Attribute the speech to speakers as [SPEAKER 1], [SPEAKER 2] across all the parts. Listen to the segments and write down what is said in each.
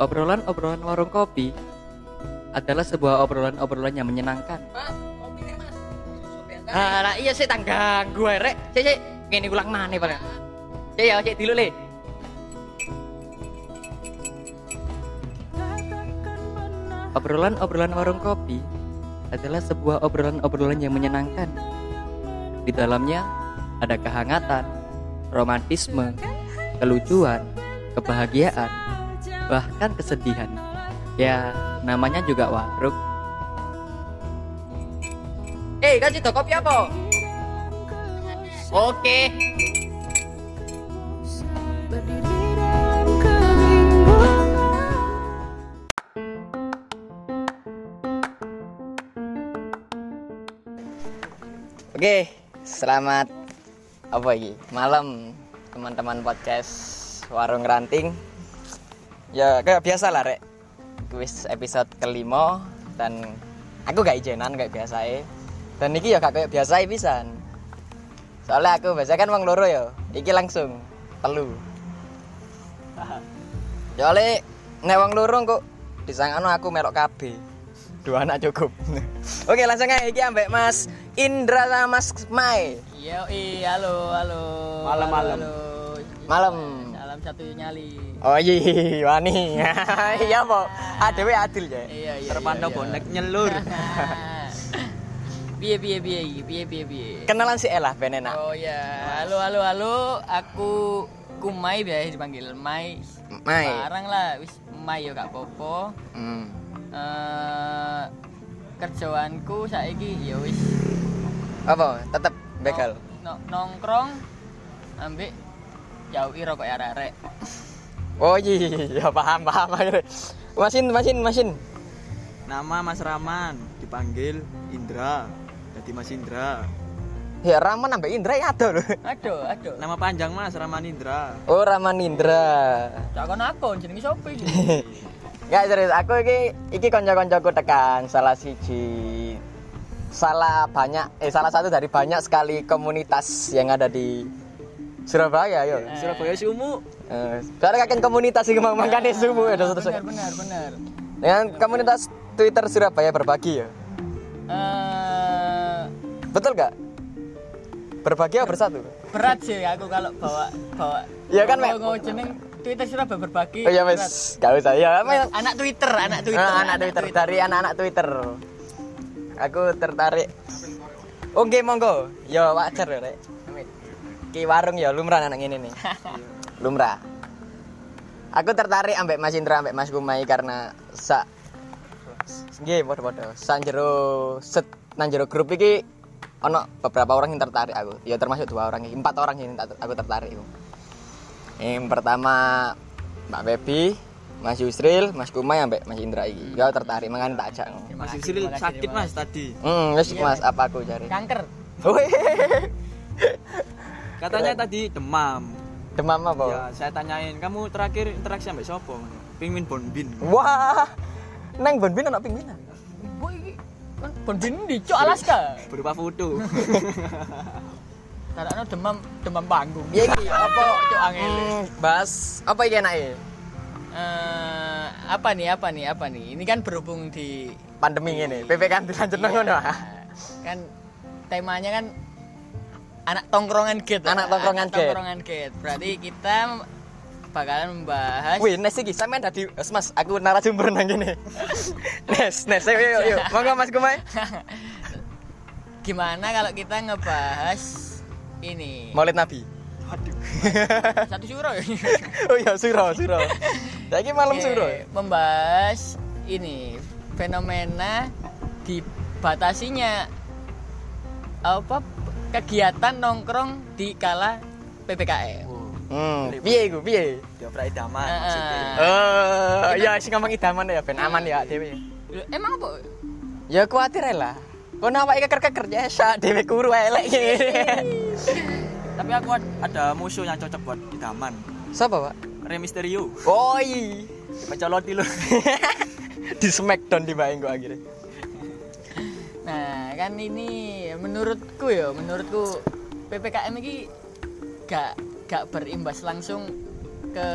[SPEAKER 1] Obrolan-obrolan warung kopi adalah sebuah obrolan-obrolan yang menyenangkan.
[SPEAKER 2] Mas, kopi nih mas. Susu bentar.
[SPEAKER 1] Alah iya sih tanggang gue rek. Sik sik ngene ulang maneh Pak. Sik ya sik dulu le. Obrolan-obrolan warung kopi adalah sebuah obrolan-obrolan yang menyenangkan. Di dalamnya ada kehangatan, romantisme, kelucuan, kebahagiaan, bahkan kesedihan. Ya, namanya juga warung. Eh, kan itu kopi apa? Oke.
[SPEAKER 3] Oke, selamat apa ini? Malam teman-teman podcast Warung Ranting. Ya kayak biasa lah rek. Wis episode kelima dan aku gak ijenan kayak biasa Dan iki ya gak kayak biasa pisan. Soalnya aku biasa kan wong loro ya. Iki langsung telu. Soalnya nek wong loro kok disangano aku merok kabeh. Dua anak cukup. Oke, langsung aja iki ambek Mas Indra sama Mas Mai.
[SPEAKER 2] Iya, iya, halo, halo.
[SPEAKER 4] Malam,
[SPEAKER 2] Halo,
[SPEAKER 4] malam.
[SPEAKER 2] halo.
[SPEAKER 3] Malam.
[SPEAKER 2] Salam satu nyali.
[SPEAKER 3] Oh iya, wani. Iya, Po. Adewe adil ya.
[SPEAKER 2] Iya, iya.
[SPEAKER 4] Terpantau
[SPEAKER 2] iya,
[SPEAKER 4] bonek nyelur.
[SPEAKER 2] Nah. Biye, biye, biye, biye, biye, biye.
[SPEAKER 3] Kenalan si Elah ben enak.
[SPEAKER 2] Oh ya, halo, halo, halo. Aku Kumai biasa dipanggil Mai.
[SPEAKER 3] Mai.
[SPEAKER 2] Sekarang lah, wis Mai yo gak popo.
[SPEAKER 3] Hmm.
[SPEAKER 2] Eh kerjaanku saiki ya wis
[SPEAKER 3] Apa? Tetep begal.
[SPEAKER 2] nong- nong- nongkrong ambek jauhi rokok arek-arek.
[SPEAKER 3] Oh iya, paham paham. akhirnya. Masin, masin, masin.
[SPEAKER 4] Nama Mas Raman dipanggil Indra. Jadi Mas Indra.
[SPEAKER 3] Ya Raman sampai Indra ya ada lho.
[SPEAKER 2] Aduh, aduh.
[SPEAKER 4] Nama panjang Mas Raman Indra.
[SPEAKER 3] Oh Raman Indra.
[SPEAKER 2] Tak kon aku jenenge sapa iki?
[SPEAKER 3] Gak serius, aku iki iki kanca-kancaku tekan salah siji salah banyak eh salah satu dari banyak sekali komunitas yang ada di Surabaya yo.
[SPEAKER 4] Surabaya si Umu.
[SPEAKER 3] Eh, Soalnya kakek komunitas sih mau makan sumu ya terus
[SPEAKER 2] Benar, benar, benar.
[SPEAKER 3] Dengan komunitas Twitter Surabaya berbagi ya.
[SPEAKER 2] Eh
[SPEAKER 3] Betul gak? Berbagi ya bersatu.
[SPEAKER 2] berat sih aku kalau bawa bawa.
[SPEAKER 3] Iya kan, Mek?
[SPEAKER 2] Ngomong jeneng Twitter Surabaya berbagi.
[SPEAKER 3] Oh iya
[SPEAKER 2] berat.
[SPEAKER 3] wes, gak usah. Ya, apa ya?
[SPEAKER 2] Anak Twitter, anak Twitter.
[SPEAKER 3] Ah, anak Twitter dari anak-anak Twitter. Aku tertarik. Oke, monggo. Yo wajar ya, Rek. Ki warung ya lumrah anak ini nih. Lumrah. Aku tertarik ambek Mas Indra ambek Mas Kumai karena sa Nggih, padha-padha. Sanjero set nanjero grup iki ono beberapa orang yang tertarik aku. Ya termasuk dua orang, iki. empat orang yang tak- aku tertarik iku. Yang pertama Mbak Bebi, Mas Yusril, Mas Kumai ambek Mas Indra iki. Ya tertarik mangan tak ajak.
[SPEAKER 4] Mas Yusril sakit Mas tadi.
[SPEAKER 3] Hmm, wis Mas apa aku cari.
[SPEAKER 2] Kanker.
[SPEAKER 4] Katanya tadi demam.
[SPEAKER 3] Demam apa?
[SPEAKER 4] Ya, saya tanyain, kamu terakhir interaksi sampai siapa? Pingin Bonbin.
[SPEAKER 3] Wah. Nang Bonbin ana pingginan.
[SPEAKER 2] Boy iki kan Bonbin di Cok Alaska.
[SPEAKER 4] Berupa foto.
[SPEAKER 2] Tarakno demam demam panggung.
[SPEAKER 3] Ya iki apa
[SPEAKER 2] Cok angel.
[SPEAKER 3] Hmm, bahas apa iki enake?
[SPEAKER 2] Eh, apa nih apa nih apa nih ini kan berhubung di
[SPEAKER 3] Pandemi ngene, PPKM dilanjutno ngono. ah.
[SPEAKER 2] kan temanya kan anak tongkrongan gate
[SPEAKER 3] Anak tongkrongan
[SPEAKER 2] Anak
[SPEAKER 3] gate.
[SPEAKER 2] tongkrongan gate. berarti kita bakalan membahas
[SPEAKER 3] Wih, Nes iki sampean dadi Mas, Mas, aku narasumber nang kene. Nes, Nes, ayo ayo ayo. Monggo Mas Kumai.
[SPEAKER 2] gimana kalau kita ngebahas ini
[SPEAKER 3] Maulid Nabi.
[SPEAKER 4] Waduh.
[SPEAKER 2] satu syuro ya
[SPEAKER 3] Oh iya, suro, suro. Saiki malam
[SPEAKER 2] Oke,
[SPEAKER 3] suro. ya?
[SPEAKER 2] Eh, membahas ini fenomena dibatasinya apa kegiatan nongkrong di kala PPKM
[SPEAKER 3] Hmm, piye iku, piye?
[SPEAKER 4] Dia berai
[SPEAKER 3] Ah,
[SPEAKER 4] damai
[SPEAKER 2] Eh,
[SPEAKER 4] maksudnya.
[SPEAKER 2] eh.
[SPEAKER 3] Eh, ya sing ngomong idaman ya ben aman ya dhewe.
[SPEAKER 2] Loh, emang apa
[SPEAKER 3] Ya kuatir ae lah. Kono awake keker-keker ya sak dhewe kuru elek.
[SPEAKER 4] Tapi aku ad- ada musuh yang cocok buat idaman.
[SPEAKER 3] Sapa, Pak?
[SPEAKER 4] Rey Mysterio.
[SPEAKER 3] Oi.
[SPEAKER 4] Pecoloti lu.
[SPEAKER 3] di smackdown di Mbak Engko akhirnya.
[SPEAKER 2] Nah, kan ini menurutku ya, menurutku PPKM ini gak gak berimbas langsung ke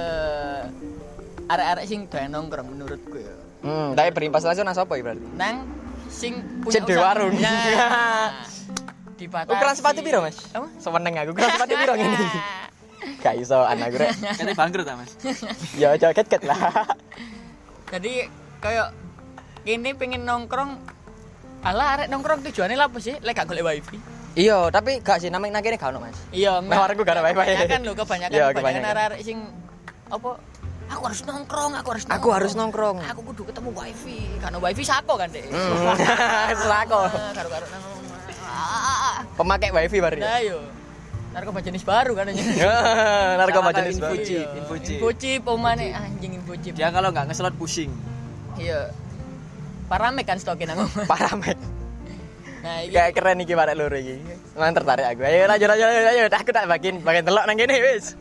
[SPEAKER 2] arek-arek sing doyan nongkrong menurutku ya.
[SPEAKER 3] Hmm, tapi berimbas langsung nang sapa iki berarti?
[SPEAKER 2] Nang sing punya
[SPEAKER 3] Cedek
[SPEAKER 2] usaha-
[SPEAKER 3] warung.
[SPEAKER 2] Nah, dibatasi.
[SPEAKER 3] Ukuran sepatu piro, Mas?
[SPEAKER 2] Apa?
[SPEAKER 3] Seweneng aku. Ukuran sepatu piro ngene iki? Gak iso anak gue. Rek.
[SPEAKER 4] Katanya bangkrut ah, Mas.
[SPEAKER 3] Ya joget-joget lah.
[SPEAKER 2] Jadi kayak gini pengen nongkrong Alah arek nongkrong tujuannya lah apa sih? Lek gak golek wifi.
[SPEAKER 3] Iya, tapi gak sih namanya nang kene gak ono, Mas.
[SPEAKER 2] Iya,
[SPEAKER 3] Nah, warungku gak ada wifi.
[SPEAKER 2] Kebanyakan lho, kebanyakan
[SPEAKER 3] Iya,
[SPEAKER 2] kebanyakan
[SPEAKER 3] kebanyakan.
[SPEAKER 2] arek-arek sing apa? Aku harus nongkrong, aku harus nongkrong.
[SPEAKER 3] Aku harus nongkrong.
[SPEAKER 2] Aku kudu ketemu wifi. Karena wifi sako kan, Dek.
[SPEAKER 3] Hmm, Selako.
[SPEAKER 2] Ah, Karo-karo nang. Ah,
[SPEAKER 3] Pemakai wifi baru. ya?
[SPEAKER 2] Nah, yo. Narkoba jenis baru kan anjing.
[SPEAKER 3] Narkoba
[SPEAKER 4] Sama
[SPEAKER 3] jenis
[SPEAKER 4] kayak
[SPEAKER 3] baru.
[SPEAKER 4] Infochip,
[SPEAKER 2] Iya,
[SPEAKER 4] infochip.
[SPEAKER 2] Infochip omane anjing infochip.
[SPEAKER 4] Dia kalau nggak ngeslot pusing.
[SPEAKER 2] Iya. Paramek kan stokin nang omah.
[SPEAKER 3] Paramek.
[SPEAKER 2] Nah, iki
[SPEAKER 3] Kayak keren iki barek loro iki. Emang tertarik aku. Ayo lanjut lanjut lanjut, lanjut. Aku tak bagiin bagian telok nang kene wis.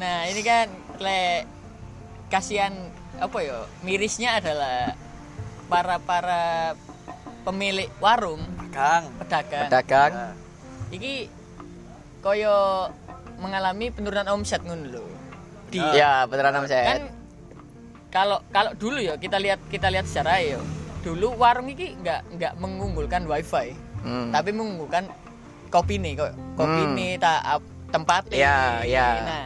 [SPEAKER 2] Nah ini kan le kasihan apa yo mirisnya adalah para para pemilik warung
[SPEAKER 4] Kang.
[SPEAKER 2] pedagang.
[SPEAKER 3] Pedagang.
[SPEAKER 2] Iki koyo mengalami penurunan omset ngono lho. Di
[SPEAKER 3] Iya, beneran nama
[SPEAKER 2] kan
[SPEAKER 3] saya.
[SPEAKER 2] kalau kalau dulu ya kita lihat kita lihat secara yo dulu warung iki nggak nggak mengunggulkan wifi
[SPEAKER 3] Hmm.
[SPEAKER 2] tapi mengunggulkan kopi nih kok kopi
[SPEAKER 3] Hmm.
[SPEAKER 2] nih tak tempat
[SPEAKER 3] Iya, iya.
[SPEAKER 2] nah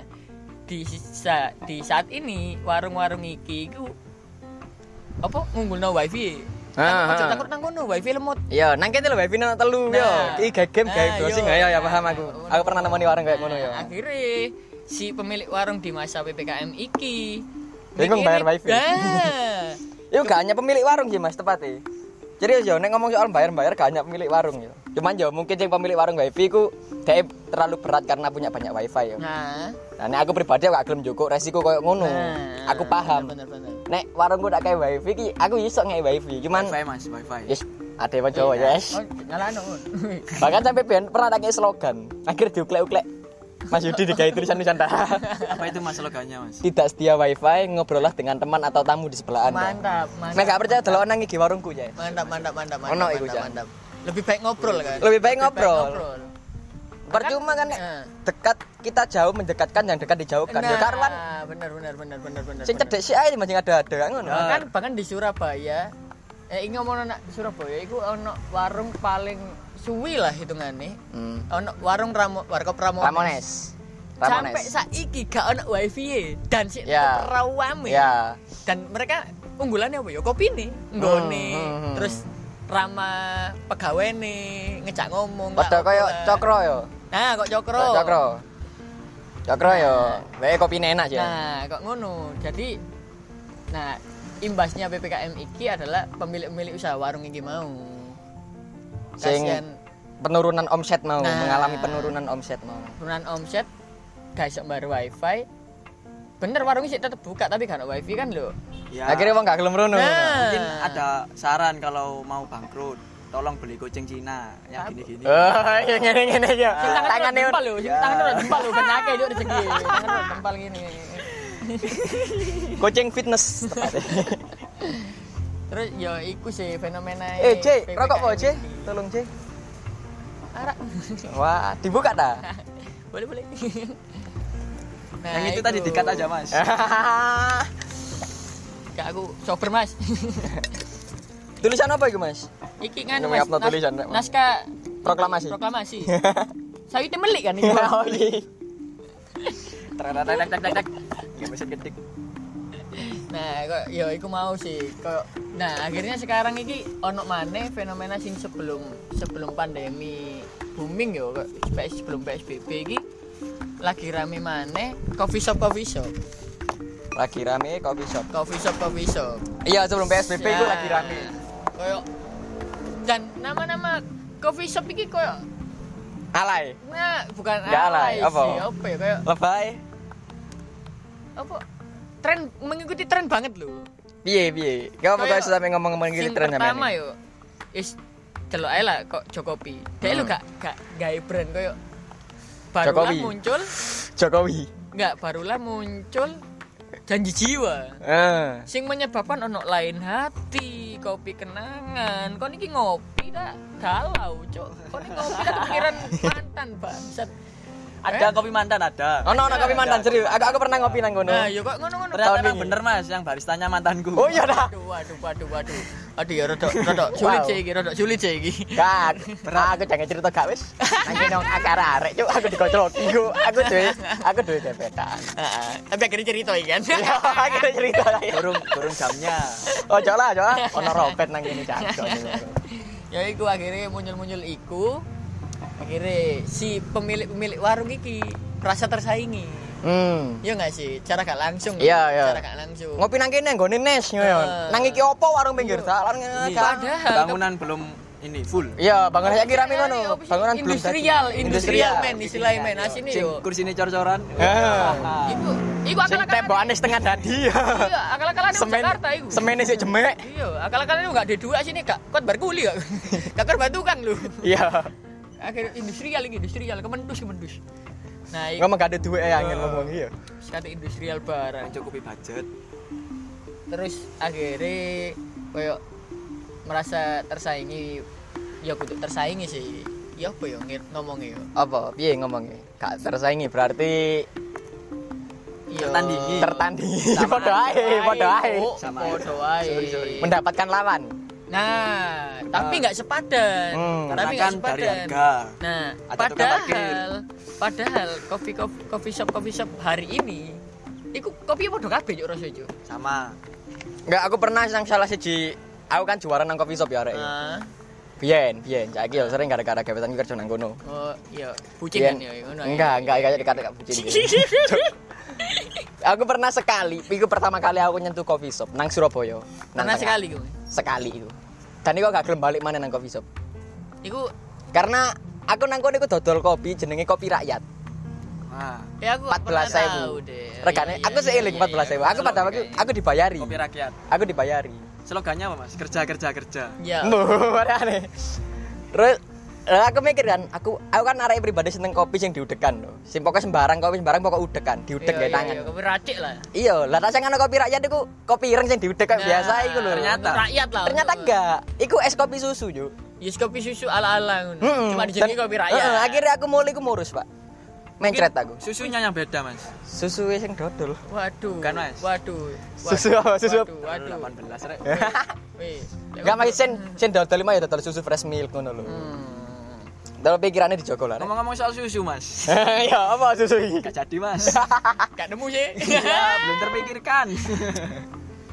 [SPEAKER 2] di sa- di saat ini warung-warung iki ku apa ngunggulno wifi
[SPEAKER 3] Ah,
[SPEAKER 2] kan ojo
[SPEAKER 3] ah.
[SPEAKER 2] takut nang kono wifi lemot
[SPEAKER 3] Iya, nang kene lho wifi nang telu yo.
[SPEAKER 2] Nah.
[SPEAKER 3] Iki gak game
[SPEAKER 2] Nah,
[SPEAKER 3] gawe browsing
[SPEAKER 2] yo.
[SPEAKER 3] ayo ya paham aku.
[SPEAKER 2] Nah,
[SPEAKER 3] Aku pernah nemoni warung kayak ngono yo.
[SPEAKER 2] akhirnya si pemilik warung di masa ppkm iki
[SPEAKER 3] Bingung
[SPEAKER 2] mikirnya,
[SPEAKER 3] bayar wifi.
[SPEAKER 2] "Ah,
[SPEAKER 3] Yo gak hanya pemilik warung sih Mas tepatnya. Jadi yo nek ngomong soal bayar-bayar gak hanya pemilik warung yo. Cuman yo mungkin yang pemilik warung wifi ku dhek terlalu berat karena punya banyak wifi yo.
[SPEAKER 2] nah
[SPEAKER 3] Nah, nek aku pribadi aku gak gelem joko resiko koyo ngono.
[SPEAKER 2] Nah,
[SPEAKER 3] Aku paham.
[SPEAKER 2] bener-bener.
[SPEAKER 3] Nek warungku tak kayak wifi ki aku iso nggae wifi. Cuman
[SPEAKER 4] Nah, Wifi Mas, wifi.
[SPEAKER 3] yes ada yang Jawa yes.
[SPEAKER 2] Oh, nyalano.
[SPEAKER 3] Bahkan sampai ben pernah tak kayak slogan. Akhir diuklek-uklek. Mas Yudi digawe tulisan-tulisan dah.
[SPEAKER 4] Apa itu mas slogannya Mas?
[SPEAKER 3] Tidak setia wifi, ngobrollah dengan teman atau tamu di sebelah Anda.
[SPEAKER 2] mantap,
[SPEAKER 3] Nek
[SPEAKER 2] mantap.
[SPEAKER 3] gak percaya delok nang IG warungku ya.
[SPEAKER 2] Mantap, mantap, mantap, mantap.
[SPEAKER 3] Ono iku, Cak.
[SPEAKER 2] mantap. Lebih baik ngobrol kan.
[SPEAKER 3] Lebih baik ngobrol.
[SPEAKER 2] ngobrol.
[SPEAKER 3] Percuma kan Nek.
[SPEAKER 2] Nah.
[SPEAKER 3] dekat kita jauh mendekatkan yang dekat dijauhkan. Ya karuan
[SPEAKER 2] Nah, benar benar benar benar benar.
[SPEAKER 3] sing
[SPEAKER 2] benar.
[SPEAKER 3] cedek sih ae masih ada-ada kan ngono.
[SPEAKER 2] Bahkan bahkan di Surabaya eh ini ngomong anak Surabaya iku ono warung paling suwi lah hitungannya
[SPEAKER 3] Hmm.
[SPEAKER 2] ono warung ramo warkop Ramones,
[SPEAKER 3] Ramones.
[SPEAKER 2] sampai
[SPEAKER 3] Ramones.
[SPEAKER 2] saiki gak ono wifi e. dan si
[SPEAKER 3] Ya.
[SPEAKER 2] terawame
[SPEAKER 3] Ya.
[SPEAKER 2] e. dan mereka unggulannya apa ya kopi nih nggone
[SPEAKER 3] hmm, hmm.
[SPEAKER 2] terus ramah pegawai nih ngejak ngomong
[SPEAKER 3] Padha
[SPEAKER 2] lah,
[SPEAKER 3] koyo
[SPEAKER 2] apa lah.
[SPEAKER 3] cokro yo.
[SPEAKER 2] nah kok cokro
[SPEAKER 3] Cokro. Cokro yo. Wae kopi enak ya.
[SPEAKER 2] nah kok ngono jadi nah imbasnya ppkm iki adalah pemilik-pemilik usaha warung iki mau
[SPEAKER 3] Sing-
[SPEAKER 2] kasihan
[SPEAKER 3] Penurunan omset mau,
[SPEAKER 2] Nah.
[SPEAKER 3] mengalami penurunan omset mau.
[SPEAKER 2] penurunan omset gak iso bayar wifi bener warungnya sih tetep buka tapi gak ada wifi kan lo
[SPEAKER 4] Ya.
[SPEAKER 3] Akhirnya wong gak gelem rono.
[SPEAKER 2] Nah.
[SPEAKER 4] mungkin ada saran kalau mau bangkrut, tolong beli kucing Cina yang gini-gini.
[SPEAKER 3] Oh, ya ngene-ngene ya.
[SPEAKER 2] tangan
[SPEAKER 3] Tangane
[SPEAKER 2] jempol lho, sing
[SPEAKER 4] Ya.
[SPEAKER 2] tangan ora jempol lho, ben akeh juk rezeki. Tangan ora jempol ngene.
[SPEAKER 3] kucing fitness. tepatnya.
[SPEAKER 2] Terus ya iku sih fenomena
[SPEAKER 3] eh, C, rokok mau C? Tolong C.
[SPEAKER 2] Arak.
[SPEAKER 3] Wah, dibuka dah.
[SPEAKER 2] Boleh, boleh. Nah,
[SPEAKER 4] yang itu, tadi dikat aja Mas.
[SPEAKER 3] Eh.
[SPEAKER 2] Gak aku sober, Mas.
[SPEAKER 3] Tulisan apa itu, Mas?
[SPEAKER 2] Iki kan
[SPEAKER 3] Ngomong
[SPEAKER 2] Mas.
[SPEAKER 3] upload
[SPEAKER 2] nas-
[SPEAKER 3] tulisan, Rek, Mas.
[SPEAKER 2] Naskah
[SPEAKER 3] Proklamasi.
[SPEAKER 2] proklamasi. Saya itu melik kan iki.
[SPEAKER 3] Ya, Oli.
[SPEAKER 4] Tek tek tek tek. Nggak bisa ketik.
[SPEAKER 2] Nah, kok ya iku mau sih. Kok nah akhirnya sekarang iki ono maneh fenomena sing sebelum sebelum pandemi booming ya kok PS sebelum PSBB iki lagi rame maneh coffee shop coffee shop.
[SPEAKER 3] Lagi rame kopi shop.
[SPEAKER 2] Coffee shop coffee shop.
[SPEAKER 3] Iya, sebelum PSBB itu
[SPEAKER 2] Ya.
[SPEAKER 3] lagi rame.
[SPEAKER 2] Koyo dan nama-nama coffee shop iki koyo
[SPEAKER 3] Alay.
[SPEAKER 2] nah bukan
[SPEAKER 3] Nggak alay,
[SPEAKER 2] alay
[SPEAKER 3] apa?
[SPEAKER 2] sih, apa ya koyo
[SPEAKER 3] Lebay.
[SPEAKER 2] apa tren mengikuti tren banget loh.
[SPEAKER 3] Piye, piye. Kau mau
[SPEAKER 2] Kayak-
[SPEAKER 3] kau sampai ngomong-ngomong gitu
[SPEAKER 2] Sing
[SPEAKER 3] tren
[SPEAKER 2] pertama
[SPEAKER 3] sampean ini?
[SPEAKER 2] yo is celok ae lah kok Jokowi. Dek
[SPEAKER 3] Hmm.
[SPEAKER 2] lu gak gak gawe brand koyo barulah
[SPEAKER 3] Jokowi.
[SPEAKER 2] muncul
[SPEAKER 3] Jokowi.
[SPEAKER 2] enggak barulah muncul janji jiwa.
[SPEAKER 3] Eh.
[SPEAKER 2] Sing menyebabkan ono lain hati, kopi kenangan. Kon iki ngopi ta galau, Cok. Kon iki ngopi ta kepikiran mantan bangsat.
[SPEAKER 4] Ada kopi mantan ada.
[SPEAKER 3] Ono ono kopi mantan serius. Aku aku pernah ngopi nang kono.
[SPEAKER 2] Nah, ya kok ngono-ngono.
[SPEAKER 4] Ternyata
[SPEAKER 3] Anu, tahun
[SPEAKER 4] emang
[SPEAKER 3] ini.
[SPEAKER 4] bener mas, yang baristanya mantanku.
[SPEAKER 3] Oh iya dah.
[SPEAKER 2] Waduh, waduh, waduh, waduh. Aduh ya rodok, rodok sulit
[SPEAKER 3] Wow.
[SPEAKER 2] sih iki, rodok sulit sih iki.
[SPEAKER 3] Gak, aku jangan cerita gak wis. Anjing nang akar arek cuk aku dikocok. Iku aku duwe aku duwe gebetan.
[SPEAKER 2] Heeh. Tapi akhirnya cerita iki kan.
[SPEAKER 3] Ya akhirnya cerita lagi.
[SPEAKER 4] Burung burung jamnya.
[SPEAKER 3] Oh jolah jolah ono roket nang kene cakok.
[SPEAKER 2] ya iku akhirnya muncul-muncul iku. Akhirnya si pemilik-pemilik warung iki merasa tersaingi.
[SPEAKER 3] Hmm.
[SPEAKER 2] Iya nggak sih? Cara gak langsung.
[SPEAKER 3] Iya, iya.
[SPEAKER 2] Cara gak langsung.
[SPEAKER 3] Ngopi nang kene nggone Nes
[SPEAKER 2] Eh.
[SPEAKER 3] ngono.
[SPEAKER 2] Iya.
[SPEAKER 3] ya. Nang iki opo warung pinggir dalan
[SPEAKER 4] Ini,
[SPEAKER 3] kan.
[SPEAKER 4] bangunan belum ini full.
[SPEAKER 3] Iya, bangunan saya kira
[SPEAKER 2] Ini
[SPEAKER 3] ngono.
[SPEAKER 2] apa sih?
[SPEAKER 3] Bangunan belum
[SPEAKER 2] industrial,
[SPEAKER 3] jadi.
[SPEAKER 2] industrial men istilahnya men asine
[SPEAKER 4] ya. iya. Sing
[SPEAKER 2] yo.
[SPEAKER 4] kursinya cor-coran.
[SPEAKER 3] Eh.
[SPEAKER 2] Iku iku
[SPEAKER 3] Sing
[SPEAKER 2] akal-akalan.
[SPEAKER 3] tembokane setengah dadi.
[SPEAKER 2] Iya, akal-akalan wong
[SPEAKER 3] Semen
[SPEAKER 2] Jakarta iku.
[SPEAKER 3] semene sik jemek.
[SPEAKER 2] Iya, akal-akalan itu gak ada dua sini kak. Kot berkuli kak. Kak kot batu kan lu.
[SPEAKER 3] Iya.
[SPEAKER 2] Akhir industrial ini industrial kemendus kemendus. Nah, ini
[SPEAKER 3] Ngomong gak ada duit ya
[SPEAKER 2] Eh.
[SPEAKER 3] angin ngomong iya.
[SPEAKER 2] kata industrial barang.
[SPEAKER 4] Mencukupi budget.
[SPEAKER 2] Terus akhirnya koyo merasa tersaingi. Ya kudu tersaingi sih. Ya apa ya ngir- ngomongnya ya.
[SPEAKER 3] Apa? Piye ngomongnya? Gak tersaingi berarti
[SPEAKER 2] Iya.
[SPEAKER 4] Tertandingi.
[SPEAKER 3] tertandingi.
[SPEAKER 4] Sama
[SPEAKER 3] Podo ae, podo ae.
[SPEAKER 2] Oh,
[SPEAKER 4] Sama
[SPEAKER 2] Podo
[SPEAKER 4] ae.
[SPEAKER 2] ae.
[SPEAKER 4] Sorry, sorry.
[SPEAKER 3] Mendapatkan lawan.
[SPEAKER 2] Nah, tapi nggak sepadan.
[SPEAKER 3] Hmm.
[SPEAKER 2] Tapi
[SPEAKER 4] Karena
[SPEAKER 2] nggak
[SPEAKER 4] kan dari
[SPEAKER 2] sepadan.
[SPEAKER 4] harga.
[SPEAKER 2] Nah,
[SPEAKER 4] Ada tukang
[SPEAKER 2] padahal padahal kopi kopi coffee shop coffee shop hari ini iku kopi podo kabeh yo rasane yo.
[SPEAKER 4] Sama.
[SPEAKER 3] Enggak, aku pernah nang salah siji aku kan juara nang coffee shop ya
[SPEAKER 4] Iya,
[SPEAKER 3] arek.
[SPEAKER 2] Nah,
[SPEAKER 3] Biyen, biyen. Saiki yo sering gara-gara gebetan kerja nang kono.
[SPEAKER 2] oh iya,
[SPEAKER 3] Biyen.
[SPEAKER 2] bucingan yo ngono. ya.
[SPEAKER 3] Enggak, enggak kayak dikata bucin. Cuk. Aku pernah sekali, itu pertama kali aku nyentuh coffee shop nang Surabaya. Nang
[SPEAKER 2] Pernah
[SPEAKER 3] tengah.
[SPEAKER 4] ya.
[SPEAKER 2] sekali gue.
[SPEAKER 3] Sekali itu. Dan iku gak gelem balik mana nang coffee shop.
[SPEAKER 2] Iku
[SPEAKER 3] Karena aku nang kono iku dodol kopi jenenge kopi rakyat.
[SPEAKER 4] Nah,
[SPEAKER 2] ya aku nggak pernah
[SPEAKER 3] 14 ribu
[SPEAKER 2] tahu deh.
[SPEAKER 3] regane
[SPEAKER 2] Iya,
[SPEAKER 3] aku
[SPEAKER 2] iya,
[SPEAKER 3] seiling
[SPEAKER 2] iya,
[SPEAKER 3] 14 ribu
[SPEAKER 2] iya.
[SPEAKER 3] aku pada waktu aku dibayari
[SPEAKER 4] kopi rakyat.
[SPEAKER 3] aku dibayari
[SPEAKER 4] Slogannya apa mas? Kerja kerja kerja.
[SPEAKER 2] Iya.
[SPEAKER 3] murah aneh terus eh, aku mikir kan aku aku kan arek pribadi seneng kopi yang diudekan loh sing pokoknya sembarang kopi sembarang pokok udekan diudek
[SPEAKER 2] Iya,
[SPEAKER 3] kayak
[SPEAKER 2] iya,
[SPEAKER 3] tangan
[SPEAKER 2] iya, Kopi racik lah.
[SPEAKER 3] iya lah tak ana kopi rakyat iku kopi ireng sing diudek kayak
[SPEAKER 2] Nah,
[SPEAKER 3] biasa iku lho
[SPEAKER 4] ternyata.
[SPEAKER 2] rakyat lah.
[SPEAKER 3] ternyata
[SPEAKER 2] Untuk-
[SPEAKER 3] enggak iku es kopi susu yo
[SPEAKER 2] Yes, kopi susu ala-ala ngono.
[SPEAKER 3] Mm-mm.
[SPEAKER 2] Cuma dijenengi
[SPEAKER 3] Dan-
[SPEAKER 2] kopi rakyat.
[SPEAKER 3] Heeh, akhirnya aku mulai aku murus pak mencret aku
[SPEAKER 4] Susunya yang beda mas.
[SPEAKER 3] susu yang dodol
[SPEAKER 2] Waduh.
[SPEAKER 4] Bukan, Mas.
[SPEAKER 2] Waduh.
[SPEAKER 3] Susu apa? Susu apa?
[SPEAKER 2] Waduh. waduh.
[SPEAKER 4] Waduh. 18
[SPEAKER 3] Eh.
[SPEAKER 4] rek.
[SPEAKER 2] Wih. ya
[SPEAKER 3] Enggak masih sen sen dodol lima ya dodol susu fresh milk ngono lho
[SPEAKER 2] Hmm.
[SPEAKER 3] Dalam pikirannya dijogo lah. Rek.
[SPEAKER 4] Ngomong-ngomong soal susu mas.
[SPEAKER 3] ya apa susu ini?
[SPEAKER 4] Gak jadi mas.
[SPEAKER 2] Gak nemu sih.
[SPEAKER 4] Iya, belum terpikirkan.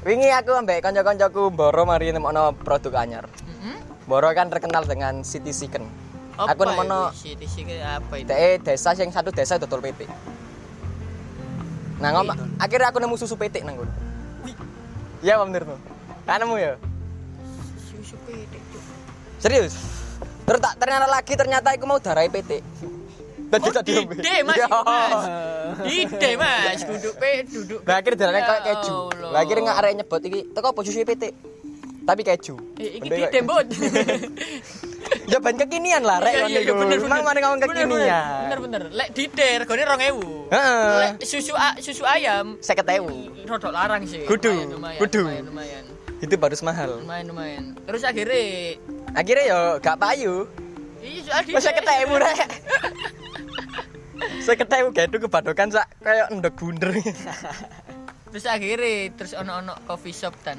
[SPEAKER 3] Wingi aku ambek kanca-kancaku Boro mari nemokno produk anyar.
[SPEAKER 2] Mm-mm.
[SPEAKER 3] Boro kan terkenal dengan City Chicken.
[SPEAKER 2] Mm-hmm. Apa
[SPEAKER 3] Aku nemokno
[SPEAKER 2] itu? Siti sih apa itu?
[SPEAKER 3] de desa yang satu desa dodol PT. Nah, ngom, akhirnya aku nemu susu PT nang kono.
[SPEAKER 4] Wih.
[SPEAKER 3] Iya, Pak Menurutmu? Nah, nemu ya.
[SPEAKER 2] Susu pitik. Cuk.
[SPEAKER 3] Serius. Terus tak ternyata lagi ternyata aku mau darai PT. Dan Ya.
[SPEAKER 2] Oh, dide, Mas, iku,
[SPEAKER 3] Iya.
[SPEAKER 2] Mas. Ide mas, duduk pe, duduk.
[SPEAKER 3] Nah, akhirnya darahnya
[SPEAKER 2] Ya
[SPEAKER 3] kayak keju.
[SPEAKER 2] Allah.
[SPEAKER 3] Lah akhirnya nggak arek nyebut iki, teko apa susu PT? Tapi keju.
[SPEAKER 2] Eh, iki
[SPEAKER 3] Bener
[SPEAKER 2] di
[SPEAKER 3] kok.
[SPEAKER 2] tembok.
[SPEAKER 3] Jawaban kekinian lah, rek.
[SPEAKER 2] Iya, iya, iya, bener, bener.
[SPEAKER 3] Nang mana ngomong
[SPEAKER 2] Bener, bener. Bener,
[SPEAKER 3] kekinian?
[SPEAKER 2] bener. Lek dide, regane 2000.
[SPEAKER 3] Heeh.
[SPEAKER 2] Lek susu a- susu ayam
[SPEAKER 3] Saya ketemu.
[SPEAKER 2] rodok larang sih.
[SPEAKER 3] Kudu,
[SPEAKER 2] Lumayan, lumayan,
[SPEAKER 3] kudu.
[SPEAKER 2] Lumayan, lumayan.
[SPEAKER 3] Itu baru mahal.
[SPEAKER 2] Lumayan, lumayan. Terus akhirnya
[SPEAKER 3] Akhirnya yo gak payu.
[SPEAKER 2] Iya, soal dide.
[SPEAKER 3] Wes saya ketemu, rek. Saya ketemu gaduh kebadokan sak kayak ndek bunder.
[SPEAKER 2] Terus akhirnya terus ono-ono coffee shop dan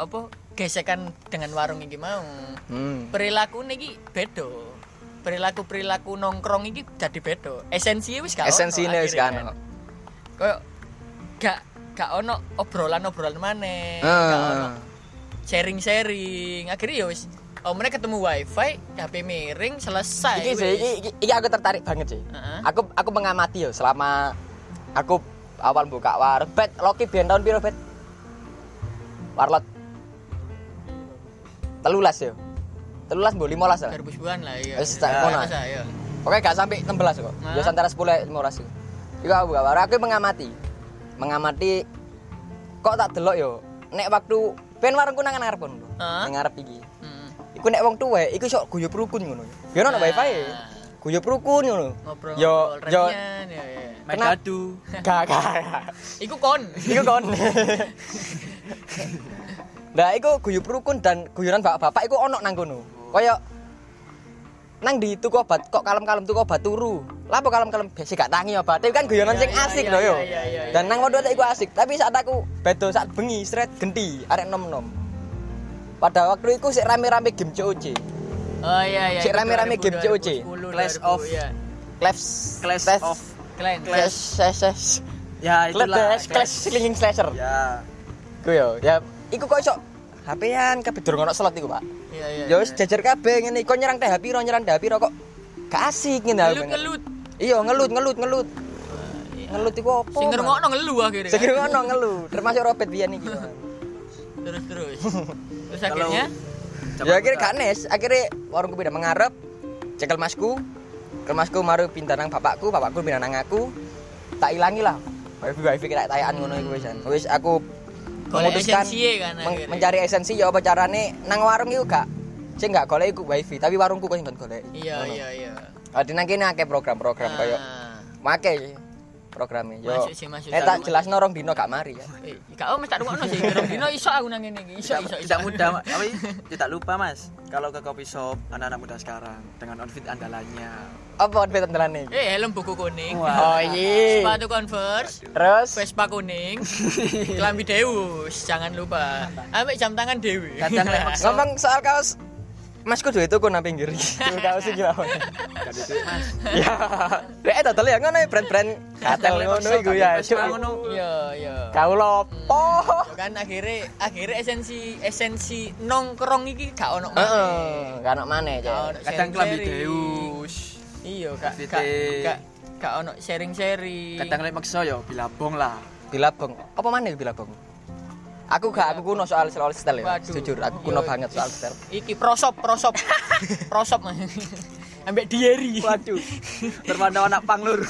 [SPEAKER 2] apa gesekan dengan warung iki mau.
[SPEAKER 3] Hmm.
[SPEAKER 2] perilaku niki beda perilaku perilaku nongkrong iki jadi beda esensinya wis gak ono
[SPEAKER 3] Esensinya e wis
[SPEAKER 2] akhirnya
[SPEAKER 3] gak ono.
[SPEAKER 2] Kayak gak gak ono obrolan obrolan mana gak ono
[SPEAKER 3] Ah.
[SPEAKER 2] sharing sharing akhirnya ya wis oh mana ketemu wifi HP miring selesai
[SPEAKER 3] Iki sih,
[SPEAKER 2] wis.
[SPEAKER 3] iki, iki, iki aku tertarik banget sih.
[SPEAKER 2] Ah, iya, Heeh.
[SPEAKER 3] Aku aku mengamati yo selama aku awal buka warung. Bet, Loki biyen tahun piro, Bet? Warlot. Telulas yo. Telulas mbok 15 lah.
[SPEAKER 2] 2000-an lah iya
[SPEAKER 3] Wis tak
[SPEAKER 2] Iya,
[SPEAKER 3] kono.
[SPEAKER 2] masa, iya.
[SPEAKER 3] Oke, gak sampai 16 kok.
[SPEAKER 2] Nah.
[SPEAKER 3] Ya antara 10 15 sih. Iku aku buka warung, aku mengamati. Mengamati kok tak delok yo. Nek waktu ben warungku nang ngarep kono.
[SPEAKER 2] Heeh.
[SPEAKER 3] Nang ngarep iki.
[SPEAKER 2] Hmm,
[SPEAKER 3] Iku nek wong tuwek iku sok guyub rukun ngono. Ya ono
[SPEAKER 2] Ah.
[SPEAKER 3] wifi. Guyub rukun ngono.
[SPEAKER 2] ngobrol
[SPEAKER 3] Yo
[SPEAKER 2] ngobrol
[SPEAKER 3] yo
[SPEAKER 2] reunian, ya, ya.
[SPEAKER 3] Kenapa?
[SPEAKER 4] Megadu.
[SPEAKER 3] gak gak, gak.
[SPEAKER 2] iku kon
[SPEAKER 3] Iku kon. Nah, iku guyub rukun dan guyunan bapak-bapak iku ono nang kono. Kaya nang di tuku obat kok kalem-kalem tuku obat turu. Lah apa kalem-kalem biasa gak tangi obat. Tapi kan guyonan
[SPEAKER 2] Iya,
[SPEAKER 3] sing
[SPEAKER 2] iya,
[SPEAKER 3] asik
[SPEAKER 2] iya,
[SPEAKER 3] lho yo.
[SPEAKER 2] iya, iya, iya,
[SPEAKER 3] Dan nang wadah iku asik, tapi saat aku bedo saat bengi sret genti arek nom-nom. Pada waktu itu sik rame-rame game COC.
[SPEAKER 2] Oh iya iya.
[SPEAKER 3] Cek
[SPEAKER 2] itu
[SPEAKER 3] rame-rame game
[SPEAKER 2] 2000,
[SPEAKER 3] COC.
[SPEAKER 2] 2010,
[SPEAKER 3] Clash
[SPEAKER 2] 2000,
[SPEAKER 3] of
[SPEAKER 2] iya.
[SPEAKER 3] Clash
[SPEAKER 4] Clash of
[SPEAKER 2] Clan.
[SPEAKER 3] Clash Clash Clash
[SPEAKER 4] ya
[SPEAKER 3] Clash
[SPEAKER 4] itulah
[SPEAKER 3] Clash Clash Slinging Slasher.
[SPEAKER 4] ya
[SPEAKER 3] Ku yo, ya iku kok iso HP-an kabeh durung ono slot iku, Pak.
[SPEAKER 2] Iya iya.
[SPEAKER 3] Ya wis jajar kabeh ngene kok nyerang teh piro nyerang teh piro kok gak asik ngene.
[SPEAKER 2] Ngelut, ngelut.
[SPEAKER 3] Iya ngelut ngelut ngelut. Ngelut iku opo?
[SPEAKER 2] Sing
[SPEAKER 3] Mas?
[SPEAKER 2] ngerungokno ngelu akhirnya.
[SPEAKER 3] Sing
[SPEAKER 2] kan?
[SPEAKER 3] ngerungokno ngelut, termasuk Robert biyen iki. Mas.
[SPEAKER 2] Terus terus. Terus
[SPEAKER 4] Kalau-
[SPEAKER 2] akhirnya
[SPEAKER 3] ya akhirnya gak nes, akhirnya warungku pindah mengarep, cekel masku. Cekel masku maru pindah nang bapakku, bapakku pindah nang aku. Tak ilangi lah. Wifi wifi kira tayaan ngono iku wis. Wis aku
[SPEAKER 2] Golek
[SPEAKER 3] memutuskan
[SPEAKER 2] esensiye kan
[SPEAKER 3] meng-
[SPEAKER 2] akhirnya.
[SPEAKER 3] mencari esensi ya apa carane nang warung iku gak sing gak golek iku wifi, tapi warungku kok sing kon golek.
[SPEAKER 2] iya
[SPEAKER 3] Ngono.
[SPEAKER 2] iya iya.
[SPEAKER 3] Ada nang kene akeh program-program koyo
[SPEAKER 2] Ah.
[SPEAKER 3] make programnya yo.
[SPEAKER 2] Masuk sih, masuk.
[SPEAKER 3] Eh tak jelas norong dino gak mari ya.
[SPEAKER 2] Eh, kau mesti tak rungokno sih. Gerong dino iso aku nang ngene iki. Iso
[SPEAKER 4] tidak,
[SPEAKER 2] iso. iso.
[SPEAKER 4] tidak mudah Mas. tapi tidak lupa mas kalau ke coffee shop anak-anak muda sekarang dengan outfit andalannya
[SPEAKER 3] Apa outfit andalan
[SPEAKER 2] Eh, helm buku kuning.
[SPEAKER 3] Oh iya.
[SPEAKER 2] Sepatu Converse.
[SPEAKER 3] Terus
[SPEAKER 2] Vespa kuning, kelambi Deus, jangan lupa. Ambek jam tangan Dewi.
[SPEAKER 4] kadang lek maksa
[SPEAKER 3] ngomong soal kaos Mas kudu itu nang pinggir iki. Kaos iki lawan.
[SPEAKER 4] gak ada duit, mas
[SPEAKER 3] Ya. Rek total ya ngono ya, brand-brand katel ngono iku ya.
[SPEAKER 4] Mas,
[SPEAKER 3] Cuk.
[SPEAKER 4] ngono.
[SPEAKER 2] Yo yo.
[SPEAKER 3] Kaulo po.
[SPEAKER 2] Iya, kan akhirnya akhirnya esensi esensi nongkrong iki gak ono maneh.
[SPEAKER 3] Heeh, gak ono maneh,
[SPEAKER 2] Gak
[SPEAKER 3] Cuk.
[SPEAKER 2] ono
[SPEAKER 4] Eh, kadang kelambi
[SPEAKER 2] sharing-sharing.
[SPEAKER 4] deus
[SPEAKER 2] Iya, gak
[SPEAKER 4] FVT.
[SPEAKER 2] gak gak gak ono sharing-sharing.
[SPEAKER 4] kadang lek maksa yo bilabong lah
[SPEAKER 3] Bilabong. Apa maneh bilabong? Aku gak aku kuno soal soal style ya.
[SPEAKER 2] Waduh.
[SPEAKER 3] Jujur, aku kuno
[SPEAKER 2] Yo,
[SPEAKER 3] banget soal style.
[SPEAKER 2] Iki prosop prosop. prosop. Ambek dieri.
[SPEAKER 4] waduh terpandang anak pang lur